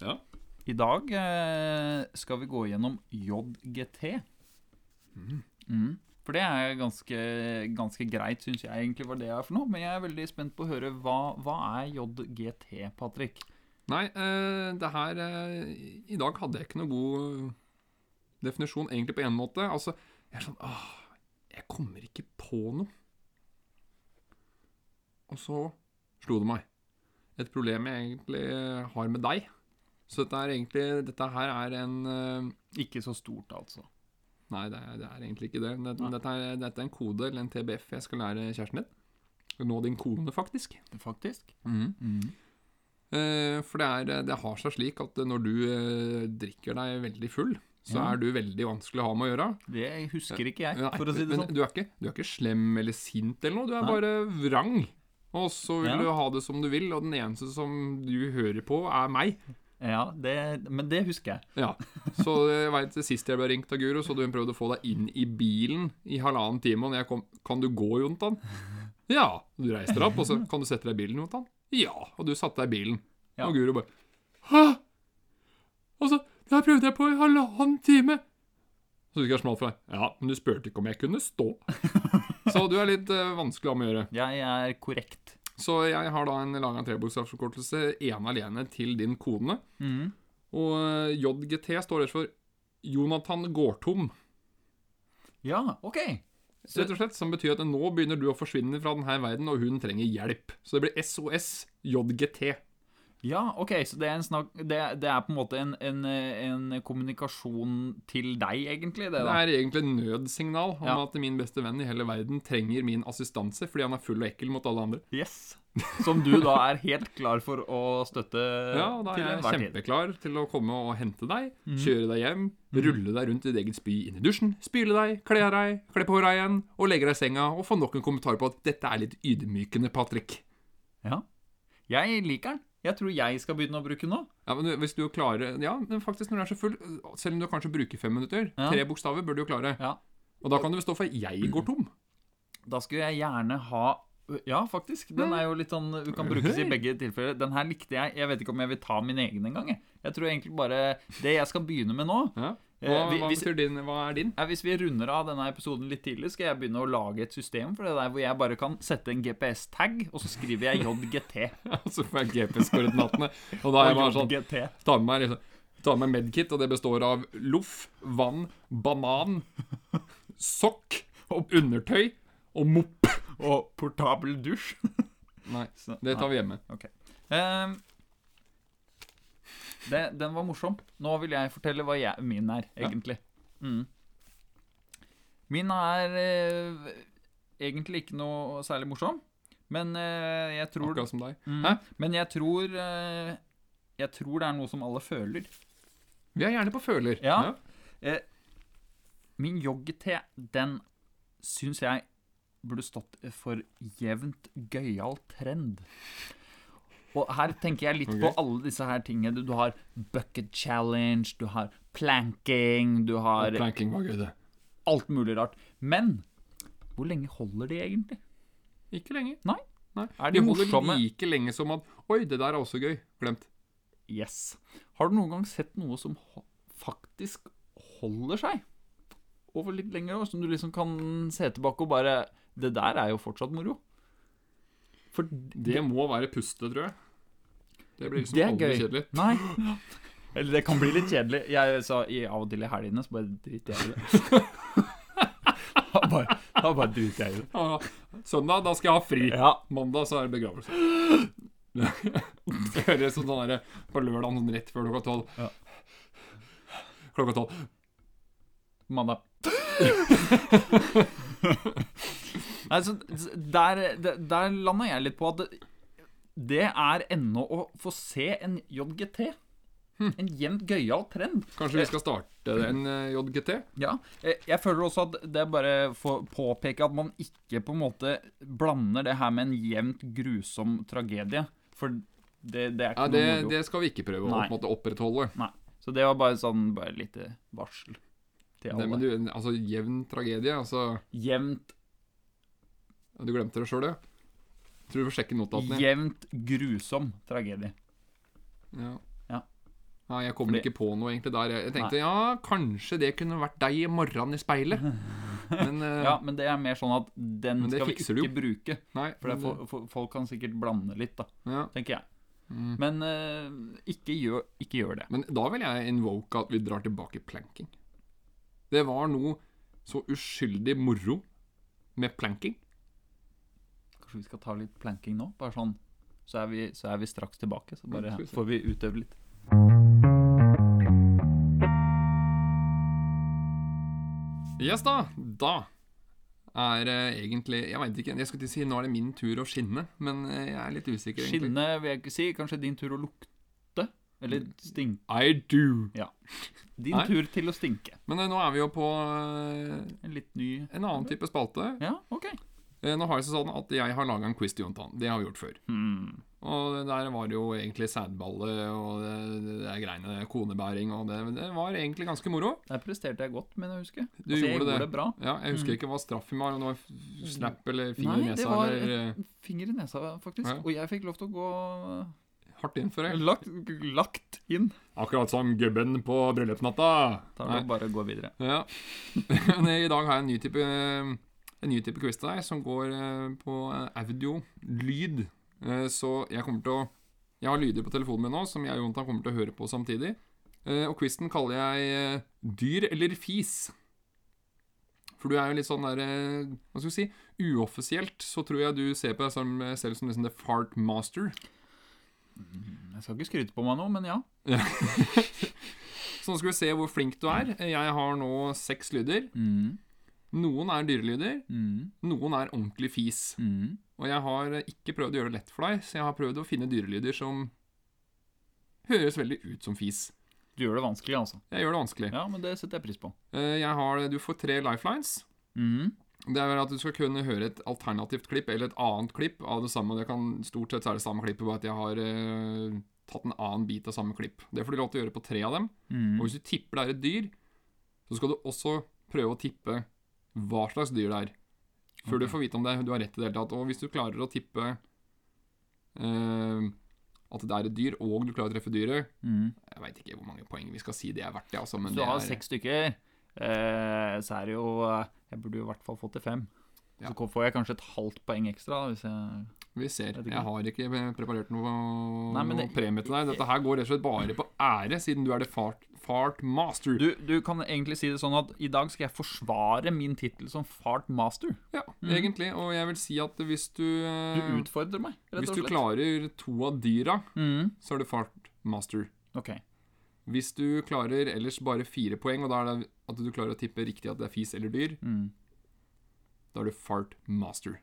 Speaker 1: Ja.
Speaker 2: I dag eh, skal vi gå gjennom JGT.
Speaker 1: Mm.
Speaker 2: Mm. For det er ganske, ganske greit, syns jeg egentlig var det jeg er for noe. Men jeg er veldig spent på å høre hva, hva er JGT, Patrick?
Speaker 1: Nei, eh, det her eh, I dag hadde jeg ikke noe god definisjon, egentlig, på en måte. Altså, jeg er sånn Åh, jeg kommer ikke på noe. Og så slo det meg. Et problem jeg egentlig har med deg. Så dette er egentlig Dette her er en eh,
Speaker 2: Ikke så stort, altså.
Speaker 1: Nei, det er, det er egentlig ikke det. Dette,
Speaker 2: Nei.
Speaker 1: dette, er, dette er en kode, eller en TBF, jeg skal lære kjæresten din. Og Nå din kone, faktisk.
Speaker 2: Faktisk.
Speaker 1: Mm. Eh, for det, er, det har seg slik at når du eh, drikker deg veldig full, så
Speaker 2: Ja.
Speaker 1: er du veldig vanskelig å ha med å gjøre.
Speaker 2: Det husker ikke jeg,
Speaker 1: Nei,
Speaker 2: for å si det
Speaker 1: men
Speaker 2: sånn.
Speaker 1: du, er ikke, du er ikke slem eller sint eller noe, du er
Speaker 2: Nei.
Speaker 1: bare vrang. Og så vil
Speaker 2: Ja.
Speaker 1: du ha det som du vil, og den eneste som du hører på, er meg.
Speaker 2: Ja, det, men det husker jeg.
Speaker 1: Ja, Så jeg vet, sist jeg ble ringt av Guro, så hadde hun prøvd å få deg inn i bilen i halvannen time. Og når jeg kom 'Kan du gå, Jontan?' Ja. Du reiste deg opp, og så 'Kan du sette deg i bilen, Jontan?' Ja. Og du satte deg i bilen.
Speaker 2: Ja.
Speaker 1: Og Guro bare 'Hæ?' Og så 'Det her prøvde jeg på i halvannen time'. Så du skal smalt for deg. Ja, men du spurte ikke om jeg kunne stå. Så du er litt eh, vanskelig å ha med å gjøre.
Speaker 2: Jeg er korrekt.
Speaker 1: Så jeg har da en lang trebokstavsforkortelse ene alene til din kone.
Speaker 2: Mm.
Speaker 1: Og eh, JGT står rett for Jonathan går tom,
Speaker 2: Ja, OK. Så,
Speaker 1: rett og slett, som betyr at nå begynner du å forsvinne fra denne verden, og hun trenger hjelp. Så det blir SOS JGT.
Speaker 2: ja, ok, så det er, en snak, det, det er på en måte en, en, en kommunikasjon til deg, egentlig? Det,
Speaker 1: Det
Speaker 2: da.
Speaker 1: er egentlig et nødsignal om
Speaker 2: Ja.
Speaker 1: at min beste venn i hele verden trenger min assistanse fordi han er full og ekkel mot alle andre.
Speaker 2: Yes. Som du da er helt klar for å støtte
Speaker 1: Ja, og da
Speaker 2: til
Speaker 1: er jeg
Speaker 2: enhver tid. Mhm.
Speaker 1: kjempeklar til å komme og hente deg, kjøre deg hjem, rulle deg rundt i ditt eget spy inn i dusjen, spyle deg, kle av deg, kle på deg igjen, og legge deg i senga, og få nok en kommentar på at dette er litt ydmykende, Patrick.
Speaker 2: Ja. Jeg liker den. Jeg tror jeg skal begynne å bruke den nå.
Speaker 1: Ja, men du- hvis du klarer Ja, men faktisk når du er så full Selv om du kanskje bruker fem minutter
Speaker 2: Ja.
Speaker 1: Tre bokstaver bør du jo klare
Speaker 2: Ja.
Speaker 1: Og da kan du stå for 'jeg går tom'
Speaker 2: Da skulle jeg gjerne ha Ja, faktisk.
Speaker 1: Mm.
Speaker 2: Den er jo litt sånn Du kan brukes i begge tilfeller. Den her likte jeg. Jeg vet ikke om jeg vil ta min egen engang. Jeg. jeg tror egentlig bare Det jeg skal begynne med nå
Speaker 1: ja. Hva,
Speaker 2: eh, vi-
Speaker 1: hva,
Speaker 2: hvis,
Speaker 1: betyr din, hva er din?
Speaker 2: ja, hvis vi runder av denne episoden litt tidlig, skal jeg begynne å lage et system for det der hvor jeg bare kan sette en GPS-tag, og så skriver jeg JGT.
Speaker 1: Så får jeg GPS-koordinatene Og da er jeg bare sånn
Speaker 2: JGT.
Speaker 1: Ta med meg, liksom, ta med meg medkit Og det består av loff, vann, banan Sokk Undertøy Og mopp
Speaker 2: Og portabel dusj.
Speaker 1: Nei,
Speaker 2: Så-
Speaker 1: det tar vi hjemme
Speaker 2: Ehm, det, den var morsom. Nå vil jeg fortelle hva jeg, min er,
Speaker 1: Ja.
Speaker 2: egentlig. Mm. Min er eh, egentlig ikke noe særlig morsom, men eh, jeg tror
Speaker 1: Akkurat som deg
Speaker 2: mm,
Speaker 1: Hæ?
Speaker 2: Men jeg tror eh, Jeg tror det er noe som alle føler.
Speaker 1: Vi er gjerne på føler
Speaker 2: Ja. Min joggete, den syns jeg burde stått for jevnt gøyal trend. Og her tenker jeg litt
Speaker 1: Ok.
Speaker 2: på alle disse her tingene. Du, du har bucket challenge, du har planking, du har
Speaker 1: Planking var gøy det
Speaker 2: alt mulig rart. Men hvor lenge holder de egentlig?
Speaker 1: Ikke lenger
Speaker 2: Nei.
Speaker 1: Nei.
Speaker 2: Er
Speaker 1: de
Speaker 2: de
Speaker 1: holder
Speaker 2: morsomme?
Speaker 1: like lenge som at Oi, det der er også gøy. Glemt.
Speaker 2: Yes. Har du noen gang sett noe som ho- faktisk holder seg over litt lengre år, som du liksom kan se tilbake og bare Det der er jo fortsatt moro. For
Speaker 1: Det må være puste, tror jeg. Det blir liksom
Speaker 2: Det er
Speaker 1: aldri
Speaker 2: gøy.
Speaker 1: kjedelig.
Speaker 2: Nei. Eller det kan bli litt kjedelig. Jeg sa i av og til i helgene, så bare driter jeg i det. Da bare, da bare driter jeg i det.
Speaker 1: Ja, søndag, da skal jeg ha fri.
Speaker 2: Ja.
Speaker 1: Mandag så er det begravelse. Det høres sånn der på lørdag sånn rett før klokka tolv.
Speaker 2: Ja.
Speaker 1: Klokka tolv.
Speaker 2: Mandag. Nei, så der, der- der landa jeg litt på at det- det er ennå å få se en JGT. En jevnt gøyal trend.
Speaker 1: Kanskje vi skal starte en eh, JGT?
Speaker 2: Ja, eh, jeg føler også at det er bare for å påpeke at man ikke på en måte blander det her med en jevnt grusom tragedie. For det, det er
Speaker 1: Ja,
Speaker 2: ikke
Speaker 1: det,
Speaker 2: noe moro.
Speaker 1: det skal vi ikke prøve å på
Speaker 2: Nei.
Speaker 1: en måte opprettholde.
Speaker 2: Nei. Så det var bare sånn bare lite varsel til
Speaker 1: Det, men
Speaker 2: alle.
Speaker 1: du, altså, jevn tragedie. Altså,
Speaker 2: Jevnt,
Speaker 1: du glemte det sjøl, ja. Tror du får sjekke notatene.
Speaker 2: jevnt grusom tragedie.
Speaker 1: Ja.
Speaker 2: Ja.
Speaker 1: Nei, jeg kommer
Speaker 2: Fordi-
Speaker 1: ikke på noe egentlig der. Jeg jeg tenkte ja, kanskje det kunne vært deg i morgen i speilet. Men eh,
Speaker 2: Ja, men det er mer sånn at den
Speaker 1: Men det
Speaker 2: skal vi
Speaker 1: fikser du
Speaker 2: ikke bruke.
Speaker 1: nei.
Speaker 2: For, det er for, for folk kan sikkert blande litt, da,
Speaker 1: ja.
Speaker 2: tenker jeg.
Speaker 1: Mm.
Speaker 2: Men eh, ikke, gjør, ikke gjør det.
Speaker 1: Men da vil jeg invoke at vi drar tilbake planking. Det var noe så uskyldig moro med planking.
Speaker 2: Kanskje vi skal ta litt planking nå? Bare sånn. Så er vi, så er vi straks tilbake. Så bare
Speaker 1: skal vi se.
Speaker 2: får vi utøvd litt.
Speaker 1: Yes da, da er eh, egentlig Jeg veit ikke, jeg skulle til å si nå er det min tur å skinne, men eh, jeg er litt usikker, egentlig.
Speaker 2: Skinne vil jeg ikke si. Kanskje din tur å lukte? Eller stinke.
Speaker 1: I do.
Speaker 2: Din
Speaker 1: Mm. Nei.
Speaker 2: tur til å stinke.
Speaker 1: Men eh, nå er vi jo på eh,
Speaker 2: En litt ny
Speaker 1: en annen type spalte.
Speaker 2: Ja, OK.
Speaker 1: Eh, Nå har det seg sånn at jeg har laga en quiz til Jontan. Det har vi gjort før.
Speaker 2: Hmm.
Speaker 1: Og der var det jo egentlig sædballe og det, det der greiene, konebæring og det, det var egentlig ganske moro.
Speaker 2: Der presterte jeg godt, men jeg husker.
Speaker 1: Du
Speaker 2: Altså, jeg
Speaker 1: gjorde det.
Speaker 2: gjorde det bra.
Speaker 1: Ja, jeg husker ikke hva straffen var, om det var f- snap eller finger i
Speaker 2: Nei, det
Speaker 1: nesa
Speaker 2: var
Speaker 1: eller eh,
Speaker 2: Finger i nesa, faktisk.
Speaker 1: Ja.
Speaker 2: Og jeg fikk lov til å gå
Speaker 1: eh, hardt innføre.
Speaker 2: lagt, lagt inn.
Speaker 1: Akkurat som gubben på bryllupsnatta.
Speaker 2: Da
Speaker 1: Nei.
Speaker 2: er det bare å gå videre.
Speaker 1: Ja. Men I dag har jeg en ny type, eh, en ny type quiz til deg, som går eh, på eh, audio, lyd. Eh, Så jeg kommer til å Jeg har lyder på telefonen min nå som jeg og Jontan kommer til å høre på samtidig. Eh, Og quizen kaller jeg eh, Dyr eller fis? For du er jo litt sånn der eh, Hva skal vi si? Uoffisielt så tror jeg du ser på deg som, selv som liksom the fart master.
Speaker 2: Jeg skal ikke skryte på meg nå, men ja.
Speaker 1: Så nå skal vi se hvor flink du er. Jeg har nå seks lyder.
Speaker 2: Mm,
Speaker 1: Noen er dyrelyder,
Speaker 2: mm,
Speaker 1: noen er ordentlig fis.
Speaker 2: mm.
Speaker 1: Og jeg har eh, ikke prøvd å gjøre det lett for deg, så jeg har prøvd å finne dyrelyder som høres veldig ut som fis.
Speaker 2: Du gjør det vanskelig, altså.
Speaker 1: Jeg gjør det vanskelig.
Speaker 2: Ja, men det setter jeg pris på.
Speaker 1: Eh, Jeg har, du får tre lifelines.
Speaker 2: Mm.
Speaker 1: Det er at du skal kunne høre et alternativt klipp eller et annet klipp av det samme. Det kan, stort sett så er det samme klippet, bare at jeg har eh, tatt en annen bit av samme klipp. Det får du lov til å gjøre på tre av dem. Og
Speaker 2: Mm.
Speaker 1: hvis du tipper det er et dyr, så skal du også prøve å tippe hva slags dyr det er. Før
Speaker 2: Ok.
Speaker 1: du får vite om det, du har rett i det hele tatt. Og hvis du klarer å tippe eh, at det er et dyr, og du klarer å treffe dyret
Speaker 2: Mm.
Speaker 1: Jeg veit ikke hvor mange poeng vi skal si det er verdt, det, altså. Men
Speaker 2: Hvis du
Speaker 1: det
Speaker 2: har
Speaker 1: er,
Speaker 2: seks stykker, eh, så er det jo eh, Jeg burde jo i hvert fall fått til fem.
Speaker 1: Ja.
Speaker 2: Så får jeg kanskje et halvt poeng ekstra. da, Hvis jeg...
Speaker 1: vi ser.
Speaker 2: vet ikke.
Speaker 1: Jeg har ikke preparert noe,
Speaker 2: Nei, men
Speaker 1: noe
Speaker 2: det-
Speaker 1: premie til deg. Dette her går rett og slett bare på ære, siden du er the fart, fart master.
Speaker 2: du, du kan egentlig si det sånn at i dag skal jeg forsvare min tittel som fart master.
Speaker 1: ja,
Speaker 2: Mm.
Speaker 1: egentlig. Og jeg vil si at hvis du,
Speaker 2: Du
Speaker 1: eh,
Speaker 2: utfordrer meg, rett
Speaker 1: Hvis
Speaker 2: og
Speaker 1: du
Speaker 2: slett.
Speaker 1: klarer to av dyra,
Speaker 2: Mm.
Speaker 1: så er du fart master.
Speaker 2: Ok.
Speaker 1: Hvis du klarer ellers bare fire poeng, og da er det at du klarer å tippe riktig at det er fis eller dyr,
Speaker 2: Mm.
Speaker 1: da er du fart master.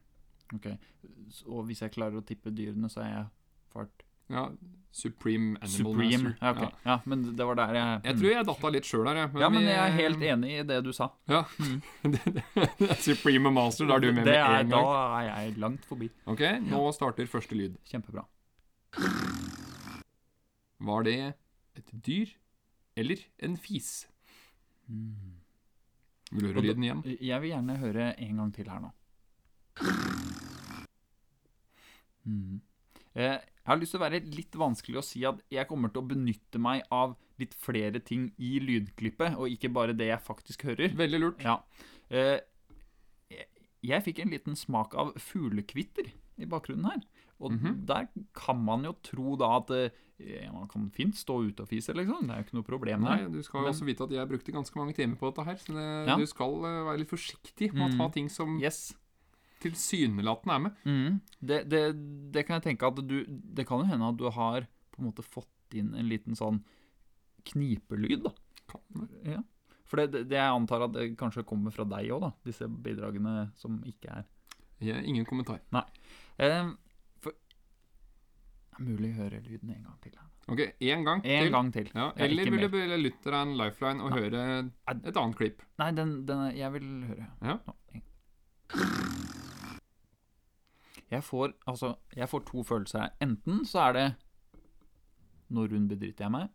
Speaker 2: Ok, S- Og hvis jeg klarer å tippe dyrene, så er jeg fart
Speaker 1: Ja, supreme animal
Speaker 2: supreme.
Speaker 1: master.
Speaker 2: Ja, ok. ja, men det var der jeg Mm.
Speaker 1: Jeg tror jeg datta litt sjøl her, jeg.
Speaker 2: Ja, men
Speaker 1: vi-
Speaker 2: jeg er helt enig i det du sa.
Speaker 1: Ja. Det er supreme master, da er du med
Speaker 2: det
Speaker 1: med
Speaker 2: er,
Speaker 1: en
Speaker 2: da
Speaker 1: gang.
Speaker 2: er jeg langt forbi.
Speaker 1: Ok, nå starter første lyd.
Speaker 2: Kjempebra.
Speaker 1: Var det et dyr eller en fis?
Speaker 2: Mm.
Speaker 1: Vil du
Speaker 2: Og
Speaker 1: høre
Speaker 2: da-
Speaker 1: lyden igjen?
Speaker 2: Jeg vil gjerne høre en gang til her nå. Mm. Eh, Jeg har lyst til å være litt vanskelig å si at jeg kommer til å benytte meg av litt flere ting i lydklippet, og ikke bare det jeg faktisk hører.
Speaker 1: Veldig lurt.
Speaker 2: Ja. Eh, jeg- jeg fikk en liten smak av fuglekvitter i bakgrunnen her. Og
Speaker 1: Mhm.
Speaker 2: der kan man jo tro da at eh, man kan fint stå ute og fise, liksom. Det er jo ikke noe problem der.
Speaker 1: Nei, du skal jo
Speaker 2: Men-
Speaker 1: også vite at jeg brukte ganske mange timer på dette her, så det,
Speaker 2: Ja.
Speaker 1: du skal eh, være litt forsiktig med å
Speaker 2: Mm.
Speaker 1: ta ting som
Speaker 2: Yes.
Speaker 1: tilsynelatende er med.
Speaker 2: Mhm. Det, det, det kan jeg tenke at du Det kan jo hende at du har på en måte fått inn en liten sånn knipelyd, da.
Speaker 1: Kan-
Speaker 2: Ja. For det, det, det jeg antar at det kanskje kommer fra deg òg, da. Disse bidragene som ikke er
Speaker 1: Ja, ingen kommentar.
Speaker 2: Eh, for, Det er mulig å høre lyden en gang til. her.
Speaker 1: Ok, én gang
Speaker 2: En
Speaker 1: til.
Speaker 2: gang til.
Speaker 1: Ja,
Speaker 2: Ja,
Speaker 1: eller
Speaker 2: ikke
Speaker 1: vil du be- lytte deg en lifeline og
Speaker 2: Nei.
Speaker 1: høre et annet klipp?
Speaker 2: Nei, den, den er, jeg vil høre.
Speaker 1: Ja.
Speaker 2: Nå, en- Jeg får, altså, jeg får to følelser her. Enten så er det Når hun bedritter jeg meg.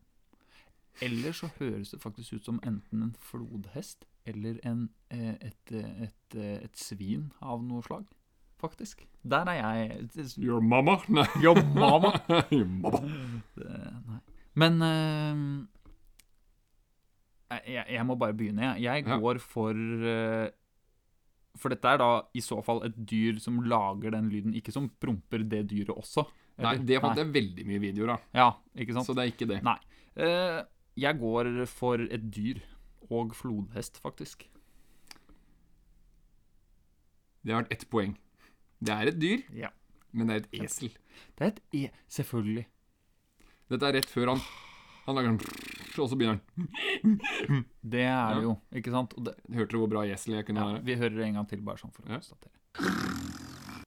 Speaker 2: Eller så høres det faktisk ut som enten en flodhest eller en, eh, et, eh, et, eh, et svin av noe slag. Faktisk. Der er jeg det-
Speaker 1: Your mama? Nei.
Speaker 2: Your mama.
Speaker 1: Your mama.
Speaker 2: Mm. Det- Nei. Men eh, jeg, jeg må bare begynne, jeg. Jeg
Speaker 1: Ja.
Speaker 2: går for eh, For dette er da i så fall et dyr som lager den lyden, ikke som promper det dyret også.
Speaker 1: Nei,
Speaker 2: eller?
Speaker 1: det fant jeg veldig mye videoer av,
Speaker 2: Ja, ikke sant?
Speaker 1: så det er ikke det.
Speaker 2: Nei. Eh, jeg går for et dyr. Og flodhest, faktisk.
Speaker 1: Det har vært ett poeng. Det er et dyr,
Speaker 2: Ja.
Speaker 1: men det er et esel.
Speaker 2: Det er et E. Selvfølgelig.
Speaker 1: Dette er rett før han Han lager sånn Og så begynner han.
Speaker 2: Det er
Speaker 1: Ja.
Speaker 2: det jo, ikke sant? Og det,
Speaker 1: Hørte du hvor bra esel jeg kunne
Speaker 2: ja,
Speaker 1: være?
Speaker 2: vi hører det en gang til, bare sånn for å
Speaker 1: Ja.
Speaker 2: konstatere.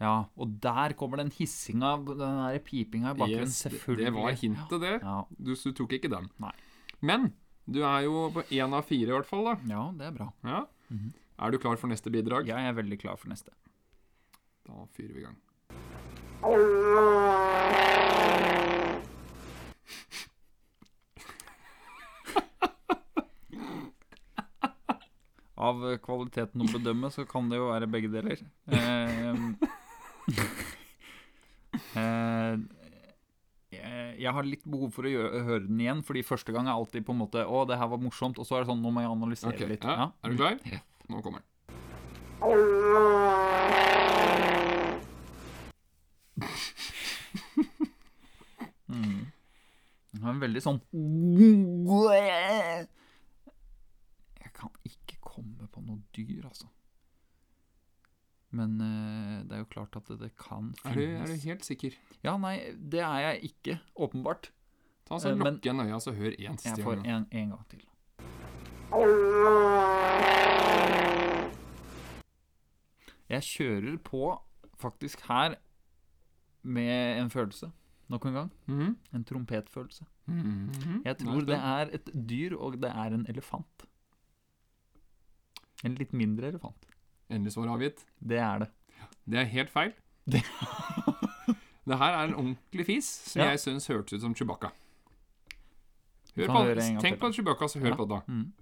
Speaker 2: Ja, og der kommer den hissinga, den der pipinga i bakgrunnen.
Speaker 1: Yes, det-
Speaker 2: selvfølgelig.
Speaker 1: det var hintet, det.
Speaker 2: Ja,
Speaker 1: Du, du tok ikke den.
Speaker 2: Nei.
Speaker 1: Men du er jo på én av fire, i hvert fall. da
Speaker 2: ja, det er bra.
Speaker 1: ja.
Speaker 2: Mhm.
Speaker 1: Er du klar for neste bidrag?
Speaker 2: Jeg er veldig klar for neste.
Speaker 1: Da fyrer vi i gang.
Speaker 2: Av eh, kvaliteten å bedømme, så kan det jo være begge deler. Eh, eh, jeg jeg har litt behov for å gjø- høre den igjen, fordi første gang er alltid på en måte Å, det her var morsomt. Og så er det sånn, nå må jeg analysere
Speaker 1: Ok,
Speaker 2: litt.
Speaker 1: ja.
Speaker 2: Ja. Mm.
Speaker 1: Er du klar?
Speaker 2: Ja.
Speaker 1: Nå kommer den.
Speaker 2: Det var en Mm. veldig sånn Jeg kan ikke komme på noe dyr, altså. Men eh, det er jo klart at det, det kan
Speaker 1: Er du, er du
Speaker 2: finnes
Speaker 1: helt sikker?
Speaker 2: Ja, nei, det er jeg ikke, åpenbart.
Speaker 1: Ta så
Speaker 2: Eh, men-
Speaker 1: Lukk igjen øya, så hør én
Speaker 2: Jeg
Speaker 1: siste
Speaker 2: får
Speaker 1: gang.
Speaker 2: en, en gang til. Jeg kjører på, faktisk her, med en følelse. Nok en gang.
Speaker 1: Mhm.
Speaker 2: En trompetfølelse.
Speaker 1: Mhm.
Speaker 2: Jeg
Speaker 1: Nå
Speaker 2: tror det
Speaker 1: spent.
Speaker 2: er et dyr, og det er en elefant. En litt mindre elefant.
Speaker 1: Endelig svar avgitt.
Speaker 2: Det er det.
Speaker 1: Det er helt feil.
Speaker 2: Det-
Speaker 1: Det her er en ordentlig fis som
Speaker 2: Ja.
Speaker 1: jeg syns hørtes ut som Chewbacca.
Speaker 2: Du
Speaker 1: Hør
Speaker 2: kan
Speaker 1: på,
Speaker 2: høre en
Speaker 1: han-
Speaker 2: gang
Speaker 1: tenk
Speaker 2: til,
Speaker 1: på Chewbacca, så hør
Speaker 2: Ja.
Speaker 1: på det. da.
Speaker 2: Mm.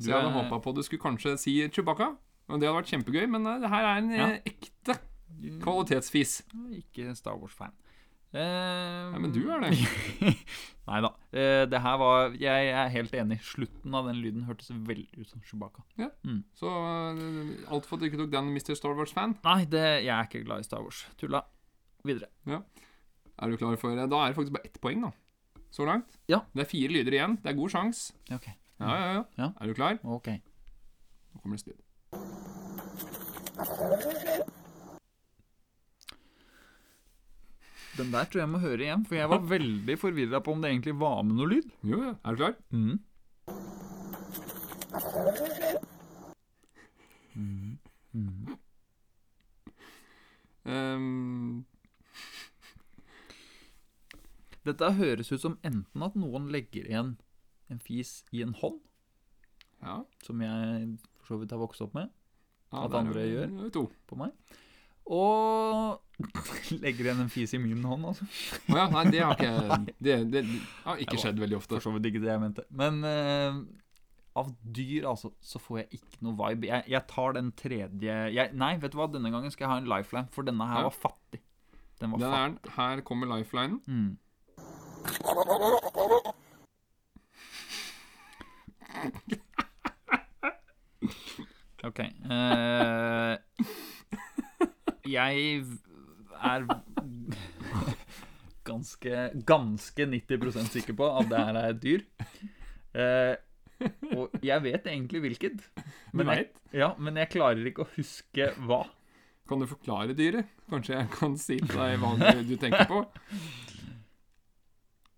Speaker 1: Så jeg hadde
Speaker 2: er-
Speaker 1: håpa på du skulle kanskje si Chewbacca. Og det hadde vært kjempegøy, men eh, det her er en
Speaker 2: Ja.
Speaker 1: eh, ekte kvalitetsfis.
Speaker 2: Ikke Star Wars-fan.
Speaker 1: Nei, men du er det.
Speaker 2: Nei da. Eh, det her var Jeg er helt enig. Slutten av den lyden hørtes veldig ut som Chewbacca.
Speaker 1: Så eh, alt for at du ikke tok den Mr. Star Wars-fan.
Speaker 2: Nei, det, jeg er ikke glad i Star Wars. Tulla. Videre.
Speaker 1: Er du klar for eh, Da er det faktisk bare ett poeng, da. Så langt.
Speaker 2: Ja.
Speaker 1: Det er fire lyder igjen. Det er god sjanse.
Speaker 2: Ok.
Speaker 1: Ja, ja, ja.
Speaker 2: Ja.
Speaker 1: Er du klar?
Speaker 2: ok.
Speaker 1: Nå kommer det stille.
Speaker 2: Den der tror jeg må høre igjen, for jeg var veldig forvirra på om det egentlig var med noe lyd.
Speaker 1: Jo, ja. Er du klar?
Speaker 2: Mm.
Speaker 1: Mm. Ehm,
Speaker 2: Dette høres ut som enten at noen legger igjen en fis i en hånd,
Speaker 1: ja.
Speaker 2: som jeg for så vidt har vokst opp med,
Speaker 1: ja.
Speaker 2: At
Speaker 1: der er
Speaker 2: andre
Speaker 1: vi-
Speaker 2: gjør.
Speaker 1: nå er vi To.
Speaker 2: på meg, og legger igjen en fis i min hånd, altså.
Speaker 1: Å ja, nei, det har ikke Det, det, det har ikke
Speaker 2: Det var-
Speaker 1: skjedd veldig ofte.
Speaker 2: For så vidt ikke det jeg mente. Men eh, av dyr, altså, så får jeg ikke noe vibe. Jeg, jeg tar den tredje jeg, Nei, vet du hva, denne gangen skal jeg ha en lifeline, for denne her
Speaker 1: Ja.
Speaker 2: var fattig. Den var
Speaker 1: Den
Speaker 2: fattig.
Speaker 1: er den. Her kommer lifelinen.
Speaker 2: Mm. Ok. eh, jeg er ganske, ganske 90 sikker på at det her er et dyr. Eh, og jeg vet egentlig hvilket, men jeg,
Speaker 1: vet.
Speaker 2: ja, men jeg klarer ikke å huske hva.
Speaker 1: Kan du forklare dyret? Kanskje jeg kan si til deg hva du, du tenker på?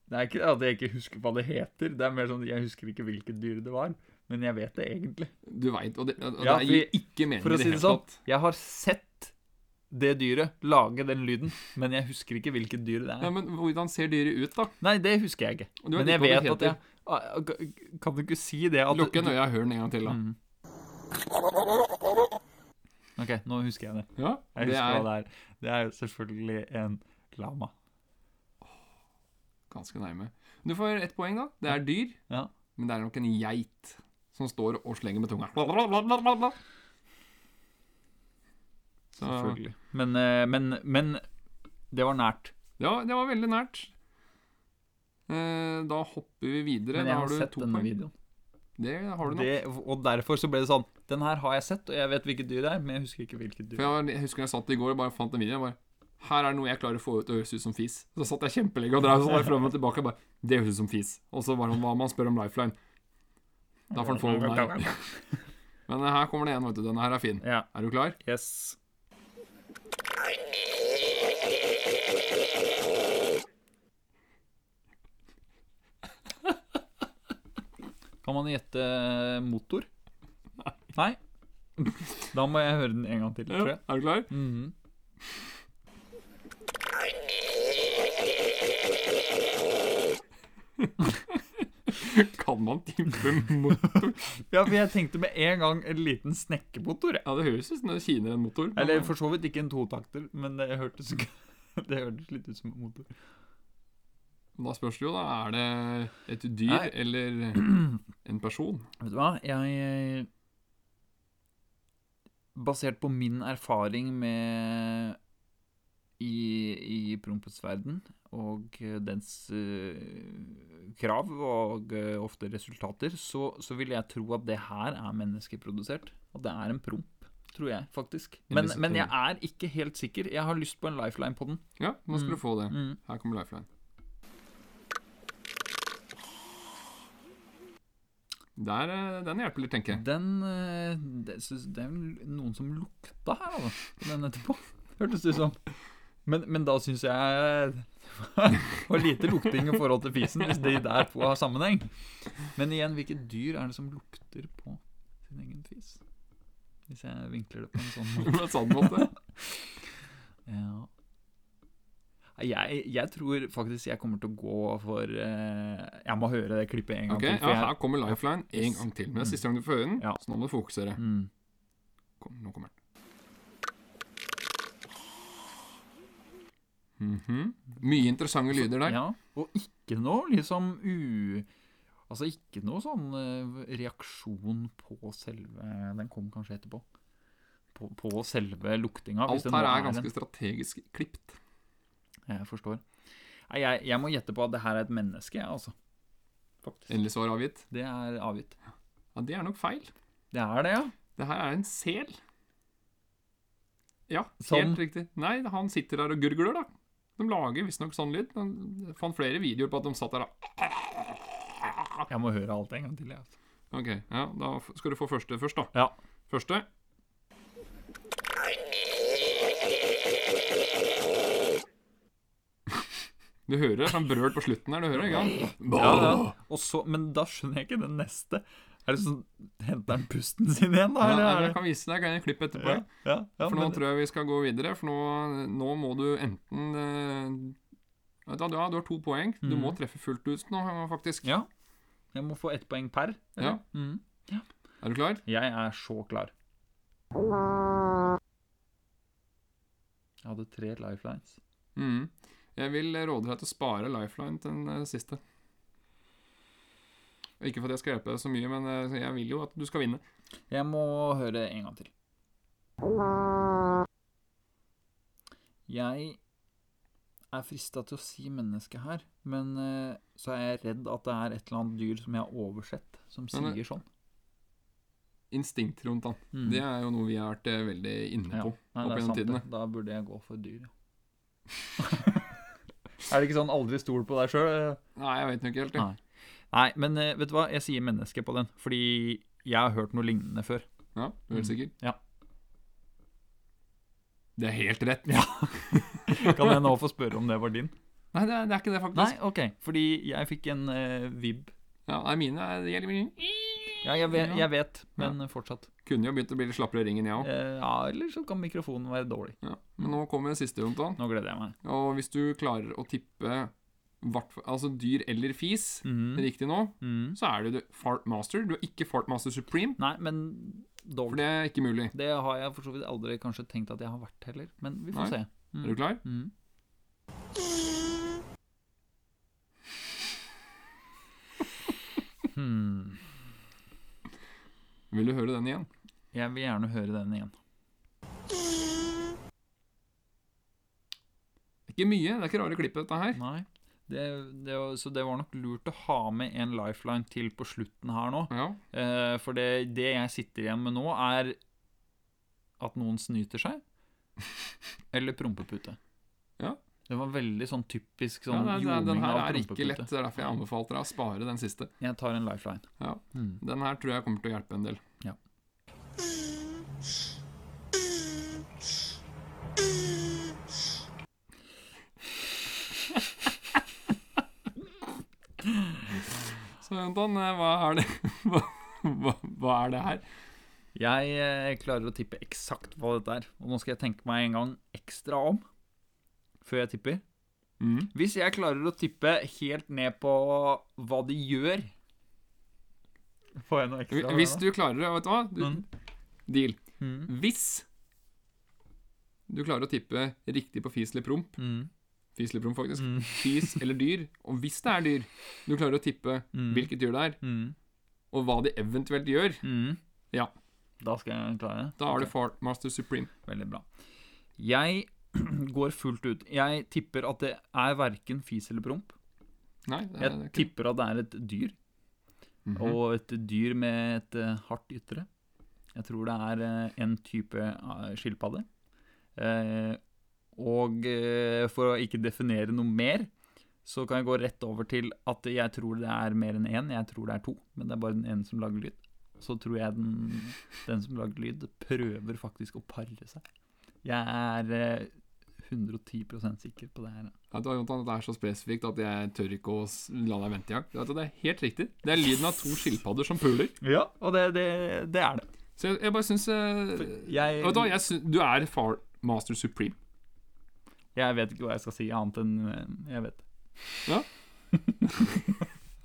Speaker 2: Det er ikke at jeg ikke husker hva det heter, det er mer sånn at jeg husker ikke hvilket dyr det var. Men jeg vet det egentlig.
Speaker 1: Du veit, og det, og
Speaker 2: Ja,
Speaker 1: det gir ikke mening
Speaker 2: For å
Speaker 1: i
Speaker 2: si
Speaker 1: det
Speaker 2: det
Speaker 1: hele
Speaker 2: sånn,
Speaker 1: tatt.
Speaker 2: jeg har sett det dyret lage den lyden, men jeg husker ikke hvilket dyr det
Speaker 1: Ja,
Speaker 2: er.
Speaker 1: men hvordan ser dyret ut, da?
Speaker 2: Nei, det husker jeg ikke.
Speaker 1: Og du vet
Speaker 2: Men jeg
Speaker 1: ikke hva det
Speaker 2: vet at jeg Ah, ah, Kan du ikke si det at
Speaker 1: Lukk igjen øya, hør den en gang til, da.
Speaker 2: Mm. OK, nå husker jeg det.
Speaker 1: Ja, det
Speaker 2: Jeg husker
Speaker 1: er
Speaker 2: hva det er. Det er jo selvfølgelig en lama.
Speaker 1: ganske nærme. Du får ett poeng, da. Det er dyr,
Speaker 2: Ja.
Speaker 1: men det er nok en geit som står og slenger med tunga. Blablabla. Så
Speaker 2: Selvfølgelig. Men, eh, men, men Det var nært.
Speaker 1: Det var, det var veldig nært. Eh, da hopper vi videre.
Speaker 2: Men
Speaker 1: Da
Speaker 2: jeg
Speaker 1: har
Speaker 2: har
Speaker 1: du
Speaker 2: sett
Speaker 1: to
Speaker 2: denne
Speaker 1: poeng.
Speaker 2: videoen.
Speaker 1: Det har du nok.
Speaker 2: Det, og derfor så ble det sånn Den her har jeg sett, og jeg vet hvilket dyr det er, men jeg husker ikke hvilket dyr.
Speaker 1: For jeg, var- jeg husker jeg satt i går og bare fant en video. Jeg bare her er det noe jeg klarer å få ut og høres ut som fis. Så satt jeg kjempelenge og drev sånn der frem og tilbake. og Bare, det høres ut som fis. Og så var det hva man spør om lifeline. Da får han få meg. Men eh, her kommer det en, vet du. Denne her er fin.
Speaker 2: Ja.
Speaker 1: Er du klar?
Speaker 2: Yes. Kan man gjette eh, motor? Nei. Da må jeg høre den en gang til, tror jeg.
Speaker 1: Er du klar?
Speaker 2: Mhm.
Speaker 1: Kan man tippe motor?
Speaker 2: Ja, for jeg tenkte med en gang en liten snekkemotor. jeg.
Speaker 1: Ja, det høres ut som det kiner en motor. men-
Speaker 2: Eller for så vidt ikke en totakter, men det hørtes, det hørtes litt ut som en motor.
Speaker 1: Da spørs det jo, da. Er det et dyr
Speaker 2: Nei.
Speaker 1: eller en person?
Speaker 2: Vet du hva, jeg eh, Basert på min erfaring med i, i prompesverden og eh, dens eh, krav og eh, ofte resultater, så, så vil jeg tro at det her er menneskeprodusert. At det er en promp, tror jeg faktisk.
Speaker 1: En
Speaker 2: Men,
Speaker 1: viss-
Speaker 2: men jeg er ikke helt sikker. Jeg har lyst på en lifeline på den.
Speaker 1: Ja, nå skal du få det.
Speaker 2: Mm.
Speaker 1: Her kommer lifeline. Der, eh, den hjelper litt, tenker jeg.
Speaker 2: Den eh, det, synes- det er vel noen som lukta her, altså. på Den etterpå. Hørtes det ut som. Men, men da syns jeg det var lite lukting i forhold til fisen, hvis de der to har sammenheng. Men igjen, hvilket dyr er det som lukter på sin egen fis? Hvis jeg vinkler det på en sånn måte.
Speaker 1: På en sånn måte.
Speaker 2: Ja. Nei, Jeg, jeg tror faktisk jeg kommer til å gå for eh, Jeg må høre det klippet en gang
Speaker 1: Ok,
Speaker 2: til. for
Speaker 1: ja,
Speaker 2: jeg-
Speaker 1: Her kommer lifeline en gang til. Men det er siste gang du får høre den,
Speaker 2: Ja.
Speaker 1: så nå må du fokusere.
Speaker 2: mm.
Speaker 1: Kom, nå kommer den. Mhm. Mye interessante lyder der.
Speaker 2: Ja, og ikke noe liksom u... Altså ikke noe sånn eh, reaksjon på selve Den kom kanskje etterpå. På, på selve luktinga. hvis
Speaker 1: Alt
Speaker 2: det nå
Speaker 1: her er
Speaker 2: en-
Speaker 1: ganske strategisk klipt.
Speaker 2: Jeg forstår. Nei, jeg, jeg må gjette på at det her er et menneske, jeg, altså. Faktisk.
Speaker 1: Endelig svar avgitt.
Speaker 2: Det er avgitt.
Speaker 1: Ja, Det er nok feil.
Speaker 2: Det er det, ja.
Speaker 1: Det her er en sel. Ja,
Speaker 2: Som-
Speaker 1: helt riktig. Nei, han sitter der og gurgler, da. De lager visstnok sånn lyd. Han fant flere videoer på at de satt der og
Speaker 2: Jeg må høre alt en gang til, jeg. Altså.
Speaker 1: Ok, ja, da f- skal du få første først, da.
Speaker 2: Ja.
Speaker 1: Første. Du hører sånn brøl på slutten her, du hører ikke sant?
Speaker 2: Ja, ja. Og så, men da skjønner jeg ikke den neste. Er det sånn Henter han pusten sin igjen, da?
Speaker 1: Ja,
Speaker 2: Eller er
Speaker 1: jeg
Speaker 2: det
Speaker 1: kan vise deg, kan jeg klippe etterpå.
Speaker 2: ja,
Speaker 1: Ja.
Speaker 2: ja, ja,
Speaker 1: For nå
Speaker 2: men-
Speaker 1: tror jeg vi skal gå videre, for nå, nå må du enten eh, Vet du hva, du har- du har to poeng. Du
Speaker 2: Mm.
Speaker 1: må treffe fullt ut nå, faktisk.
Speaker 2: Ja. Jeg må få ett poeng per. eller? Mhm.
Speaker 1: Er du klar?
Speaker 2: Jeg er så klar. Jeg hadde tre lifelines.
Speaker 1: Mhm. Jeg vil råde deg til å spare lifeline til den eh, siste. Ikke for at jeg skal hjelpe deg så mye, men eh, jeg vil jo at du skal vinne.
Speaker 2: Jeg må høre en gang til. Jeg er frista til å si menneske her, men eh, så er jeg redd at det er et eller annet dyr som jeg har oversett, som
Speaker 1: Men det-
Speaker 2: sier sånn.
Speaker 1: Instinkt rundt han.
Speaker 2: Mm.
Speaker 1: Det er jo noe vi har vært eh, veldig inne
Speaker 2: Ja.
Speaker 1: på.
Speaker 2: Nei,
Speaker 1: opp
Speaker 2: det er
Speaker 1: gjennom
Speaker 2: sant.
Speaker 1: tidene.
Speaker 2: det. Da burde jeg gå for dyr, ja. er det ikke sånn aldri stol på deg eh? sjøl?
Speaker 1: Nei, jeg vet nok ikke helt. jeg.
Speaker 2: Nei. Nei, men eh, vet du hva? Jeg sier menneske på den, fordi jeg har hørt noe lignende før.
Speaker 1: Ja, du er helt sikker?
Speaker 2: Mm. Ja.
Speaker 1: Det er helt rett.
Speaker 2: Ja. Kan jeg nå få spørre om det var din?
Speaker 1: Nei, det er, det er ikke det, faktisk.
Speaker 2: Nei, ok. Fordi jeg fikk en eh, vib.
Speaker 1: Ja, nei, mine er, det gjelder mine.
Speaker 2: Ja, jeg vet, jeg vet men fortsatt.
Speaker 1: Kunne jo begynt å bli litt slappere i ringen, jeg òg.
Speaker 2: Eh, ja, eller så kan mikrofonen være dårlig.
Speaker 1: Ja. Men nå kommer det siste, Jontan.
Speaker 2: Nå gleder jeg meg.
Speaker 1: Og hvis du klarer å tippe hvert, altså dyr eller fis
Speaker 2: Mhm.
Speaker 1: riktig nå,
Speaker 2: Mhm.
Speaker 1: så er du det Fart Master. Du er ikke Fart Master Supreme,
Speaker 2: Nei, men
Speaker 1: for
Speaker 2: dårlig.
Speaker 1: det er ikke mulig.
Speaker 2: Det har jeg for så vidt aldri kanskje tenkt at jeg har vært heller, men vi
Speaker 1: Nei.
Speaker 2: får se. Mhm.
Speaker 1: Er du klar?
Speaker 2: Mhm. Hmm.
Speaker 1: Vil du høre den igjen?
Speaker 2: Jeg vil gjerne høre den igjen.
Speaker 1: ikke mye. Det er ikke rare klippet, dette her.
Speaker 2: Nei. Det, det, var- så det var nok lurt å ha med en lifeline til på slutten her nå.
Speaker 1: Ja.
Speaker 2: Eh, for det, det jeg sitter igjen med nå, er at noen snyter seg. Eller prompepute.
Speaker 1: Ja.
Speaker 2: Det var veldig sånn
Speaker 1: Ja,
Speaker 2: typisk sånn
Speaker 1: nei, det,
Speaker 2: ljoming
Speaker 1: den her
Speaker 2: av
Speaker 1: er ikke lett.
Speaker 2: prompepute.
Speaker 1: Det er derfor jeg anbefalte deg å spare den siste.
Speaker 2: Jeg tar en lifeline.
Speaker 1: Ja.
Speaker 2: Mm.
Speaker 1: Den her tror jeg kommer til å hjelpe en del. Så Anton, eh, hva er det hva, hva, hva er det her?
Speaker 2: Jeg eh, klarer å tippe eksakt hva dette er. Og nå skal jeg tenke meg en gang ekstra om før jeg tipper.
Speaker 1: Mm.
Speaker 2: Hvis jeg klarer å tippe helt ned på hva de gjør Får jeg noe ekstra?
Speaker 1: Hvis du klarer det, vet du hva? Du,
Speaker 2: Mm.
Speaker 1: Deal.
Speaker 2: Mm.
Speaker 1: Hvis du klarer å tippe riktig på fis eller promp
Speaker 2: Mm.
Speaker 1: Fis eller promp, faktisk.
Speaker 2: Mm.
Speaker 1: Fis eller dyr. Og hvis det er dyr, du klarer å tippe
Speaker 2: Mm.
Speaker 1: hvilket dyr det er,
Speaker 2: Mm.
Speaker 1: og hva de eventuelt gjør,
Speaker 2: Mm.
Speaker 1: Ja.
Speaker 2: Da skal jeg klare det.
Speaker 1: da er
Speaker 2: Ok,
Speaker 1: det Fartmaster Supreme.
Speaker 2: Veldig bra. Jeg går fullt ut. Jeg tipper at det er verken fis eller promp.
Speaker 1: Nei, det er,
Speaker 2: Jeg
Speaker 1: det er ikke
Speaker 2: tipper at det er et dyr,
Speaker 1: Mhm.
Speaker 2: og et dyr med et eh, hardt ytre. Jeg tror det er eh, en type eh, skilpadde. Eh, og eh, for å ikke definere noe mer, så kan jeg gå rett over til at jeg tror det er mer enn én. Jeg tror det er to, men det er bare den ene som lager lyd. Så tror jeg den, den som lager lyd, prøver faktisk å pare seg. Jeg er eh, 110 sikker på det her.
Speaker 1: Vet du hva, Jonathan, Dette er så spesifikt at jeg tør ikke å s- la deg vente i gang. Vet du, Det er helt riktig. Det er lyden av to skilpadder som puler.
Speaker 2: Ja, og det, det, det er det.
Speaker 1: Så jeg, jeg bare syns eh,
Speaker 2: Jeg,
Speaker 1: Vet du hva, jeg syns- du er Fartmaster Supreme.
Speaker 2: Jeg vet ikke hva jeg skal si annet enn eh, jeg vet.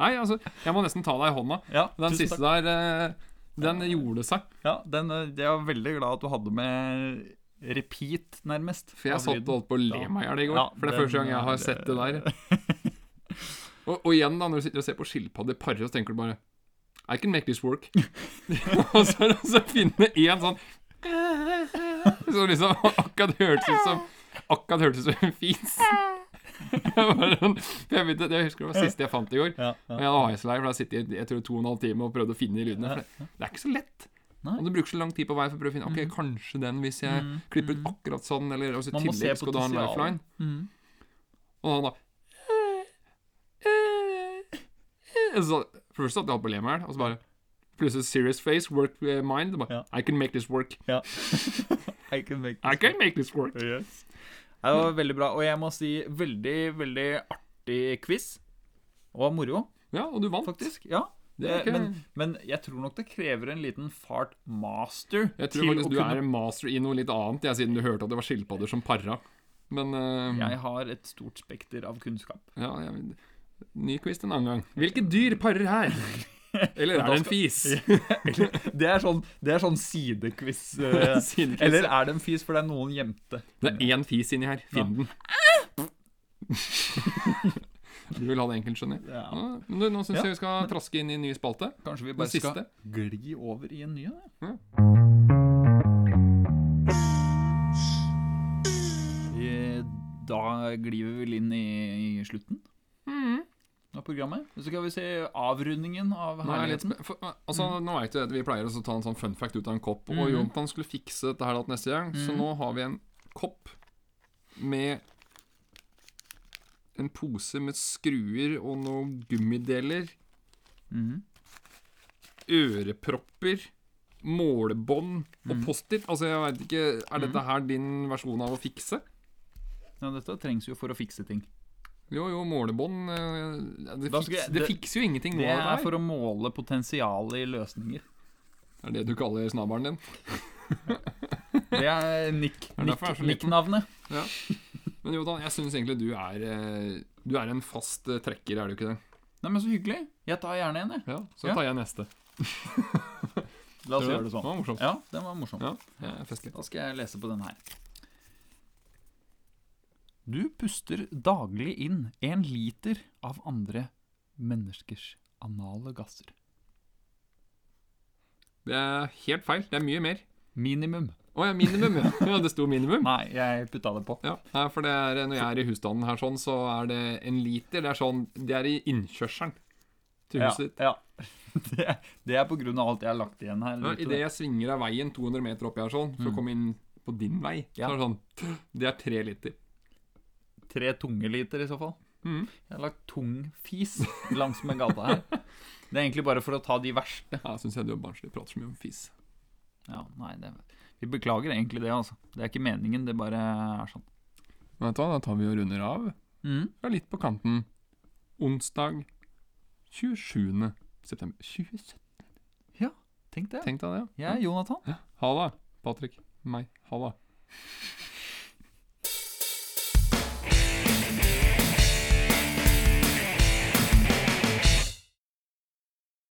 Speaker 1: Nei, altså, jeg må nesten ta deg i hånda.
Speaker 2: Ja,
Speaker 1: Den siste der, eh, den gjorde seg.
Speaker 2: Ja, den, eh, jeg var veldig glad at du hadde med repeat, nærmest.
Speaker 1: For jeg
Speaker 2: av
Speaker 1: satt og
Speaker 2: lyden.
Speaker 1: holdt på å le
Speaker 2: Ja.
Speaker 1: meg i hjel i går.
Speaker 2: Ja,
Speaker 1: for det er
Speaker 2: den
Speaker 1: første gang jeg
Speaker 2: er-
Speaker 1: har sett det der. Og, og igjen, da, når du sitter og ser på skilpadder pare, så tenker du bare I can make this work. og så er det altså å finne én sånn Som liksom akkurat hørtes ut som Akkurat hørtes ut som en fis. Jeg bare sånn- for jeg, begynte, jeg husker det var siste jeg fant i går.
Speaker 2: Ja,
Speaker 1: Og
Speaker 2: ja.
Speaker 1: jeg hadde highest for jeg sitter i jeg tror, to og en halv time og prøvde å finne de lydene. For det, det er ikke så lett.
Speaker 2: Nei.
Speaker 1: Og du bruker så lang tid på vei for å prøve å finne Ok, kanskje den hvis jeg
Speaker 2: Mm,
Speaker 1: klipper ut
Speaker 2: mm.
Speaker 1: akkurat sånn, eller også, i
Speaker 2: Man må se
Speaker 1: tillegg skal du ha en
Speaker 2: potensial.
Speaker 1: lifeline.
Speaker 2: Mm.
Speaker 1: Og han «Eh, da eh.» så, For først satt jeg holdt på å le meg i hjel, og så bare Plutselig serious face, work eh, mind. og Bare,
Speaker 2: Ja.
Speaker 1: I can make this work.
Speaker 2: Ja. I can make
Speaker 1: I can make this work.
Speaker 2: Yes. Nei, Det var veldig bra, og jeg må si veldig, veldig artig quiz. Og moro,
Speaker 1: Ja, og du vant.
Speaker 2: faktisk. Ja.
Speaker 1: Det er
Speaker 2: Eh,
Speaker 1: ikke-
Speaker 2: men, men jeg tror nok det krever en liten fart master
Speaker 1: Jeg tror faktisk du er en master i noe litt annet, jeg, siden du hørte at det var skilpadder som para. Men eh,
Speaker 2: Jeg har et stort spekter av kunnskap.
Speaker 1: ja, jeg, Ny quiz en annen gang. Hvilke dyr parer her? Eller er det en fis?
Speaker 2: Det er sånn, det er sånn sidequiz. eh,
Speaker 1: Siden-
Speaker 2: Eller er det en fis, for det er noen gjemte.
Speaker 1: Det er én fis inni her. Finn den. Du vil ha det enkelt, skjønner jeg.
Speaker 2: Ja.
Speaker 1: Ja, men du, nå syns
Speaker 2: Ja,
Speaker 1: jeg vi skal traske inn i en ny spalte.
Speaker 2: Kanskje vi
Speaker 1: Mm. Den
Speaker 2: bare skal
Speaker 1: siste. Mm.
Speaker 2: gli over i en ny?
Speaker 1: Ja.
Speaker 2: Da? Eh, Da glir vi vel inn i, i slutten av programmet. Så skal vi se avrundingen av
Speaker 1: Nå er jeg litt
Speaker 2: herligheten.
Speaker 1: spe- for, altså,
Speaker 2: Mm.
Speaker 1: nå vet du at Vi pleier også å ta en sånn fun fact ut av en kopp. Og Jontan skulle fikse dette her da til neste gang,
Speaker 2: Mm.
Speaker 1: så nå har vi en kopp med en pose med skruer og noen gummideler,
Speaker 2: Mhm.
Speaker 1: ørepropper, målebånd og
Speaker 2: Mm.
Speaker 1: Post-It. Altså, jeg veit ikke Er dette her din versjon av å fikse?
Speaker 2: Ja, dette trengs jo for å fikse ting.
Speaker 1: Jo, jo, målebånd eh, Det,
Speaker 2: Da skal
Speaker 1: fiks,
Speaker 2: jeg-
Speaker 1: det
Speaker 2: det-
Speaker 1: fikser jo ingenting nå.
Speaker 2: Det
Speaker 1: av her.
Speaker 2: er for å måle potensialet i
Speaker 1: Det
Speaker 2: løsninger.
Speaker 1: er det du kaller snabelen din.
Speaker 2: Det er nikk-
Speaker 1: er derfor jeg er så liten.
Speaker 2: nikk- nikk-navnet.
Speaker 1: Men Jodan, jeg syns egentlig du er eh, Du er en fast eh, trekker, er du ikke det?
Speaker 2: Nei, men så hyggelig. Jeg tar gjerne en, jeg.
Speaker 1: Ja, Så
Speaker 2: Ja.
Speaker 1: tar jeg neste.
Speaker 2: La oss
Speaker 1: Tror du
Speaker 2: gjøre det
Speaker 1: Det
Speaker 2: sånn.
Speaker 1: var morsomt.
Speaker 2: Ja, den var morsom.
Speaker 1: Ja, ja festlig.
Speaker 2: Da skal jeg lese på den her. Du puster daglig inn en liter av andre menneskers anale gasser.
Speaker 1: Det er helt feil. Det er mye mer.
Speaker 2: Minimum
Speaker 1: Å ja, minimum, ja. ja. Det sto minimum.
Speaker 2: Nei, jeg putta det på.
Speaker 1: Ja, nei, for det er, når jeg er i husstanden her sånn, så er det en liter. Det er sånn Det er i innkjørselen til
Speaker 2: Ja,
Speaker 1: huset ditt.
Speaker 2: ja. Det, er- det er på grunn av alt jeg har lagt igjen her.
Speaker 1: Ja,
Speaker 2: vet du
Speaker 1: Idet jeg svinger av veien 200 meter oppi her sånn, for å komme inn på din vei,
Speaker 2: Ja.
Speaker 1: så er det sånn Det er tre liter.
Speaker 2: det. Tre tungeliter i så fall.
Speaker 1: Mhm.
Speaker 2: Jeg har lagt tung fis langsmed gata her. Det er egentlig bare for å ta de verste.
Speaker 1: Ja, syns jeg du er barnslig. Prater så mye om fis.
Speaker 2: Ja, nei, det, vi beklager egentlig det, altså. Det er ikke meningen, det bare er sånn.
Speaker 1: Vet du hva, da tar vi og runder av.
Speaker 2: Mhm.
Speaker 1: Det er litt på kanten. Onsdag 27. september 2017.
Speaker 2: Tenk det.
Speaker 1: Tenk deg det.
Speaker 2: Jeg er Jonathan.
Speaker 1: Ja. Ha det, Patrick. Meg. Ha det.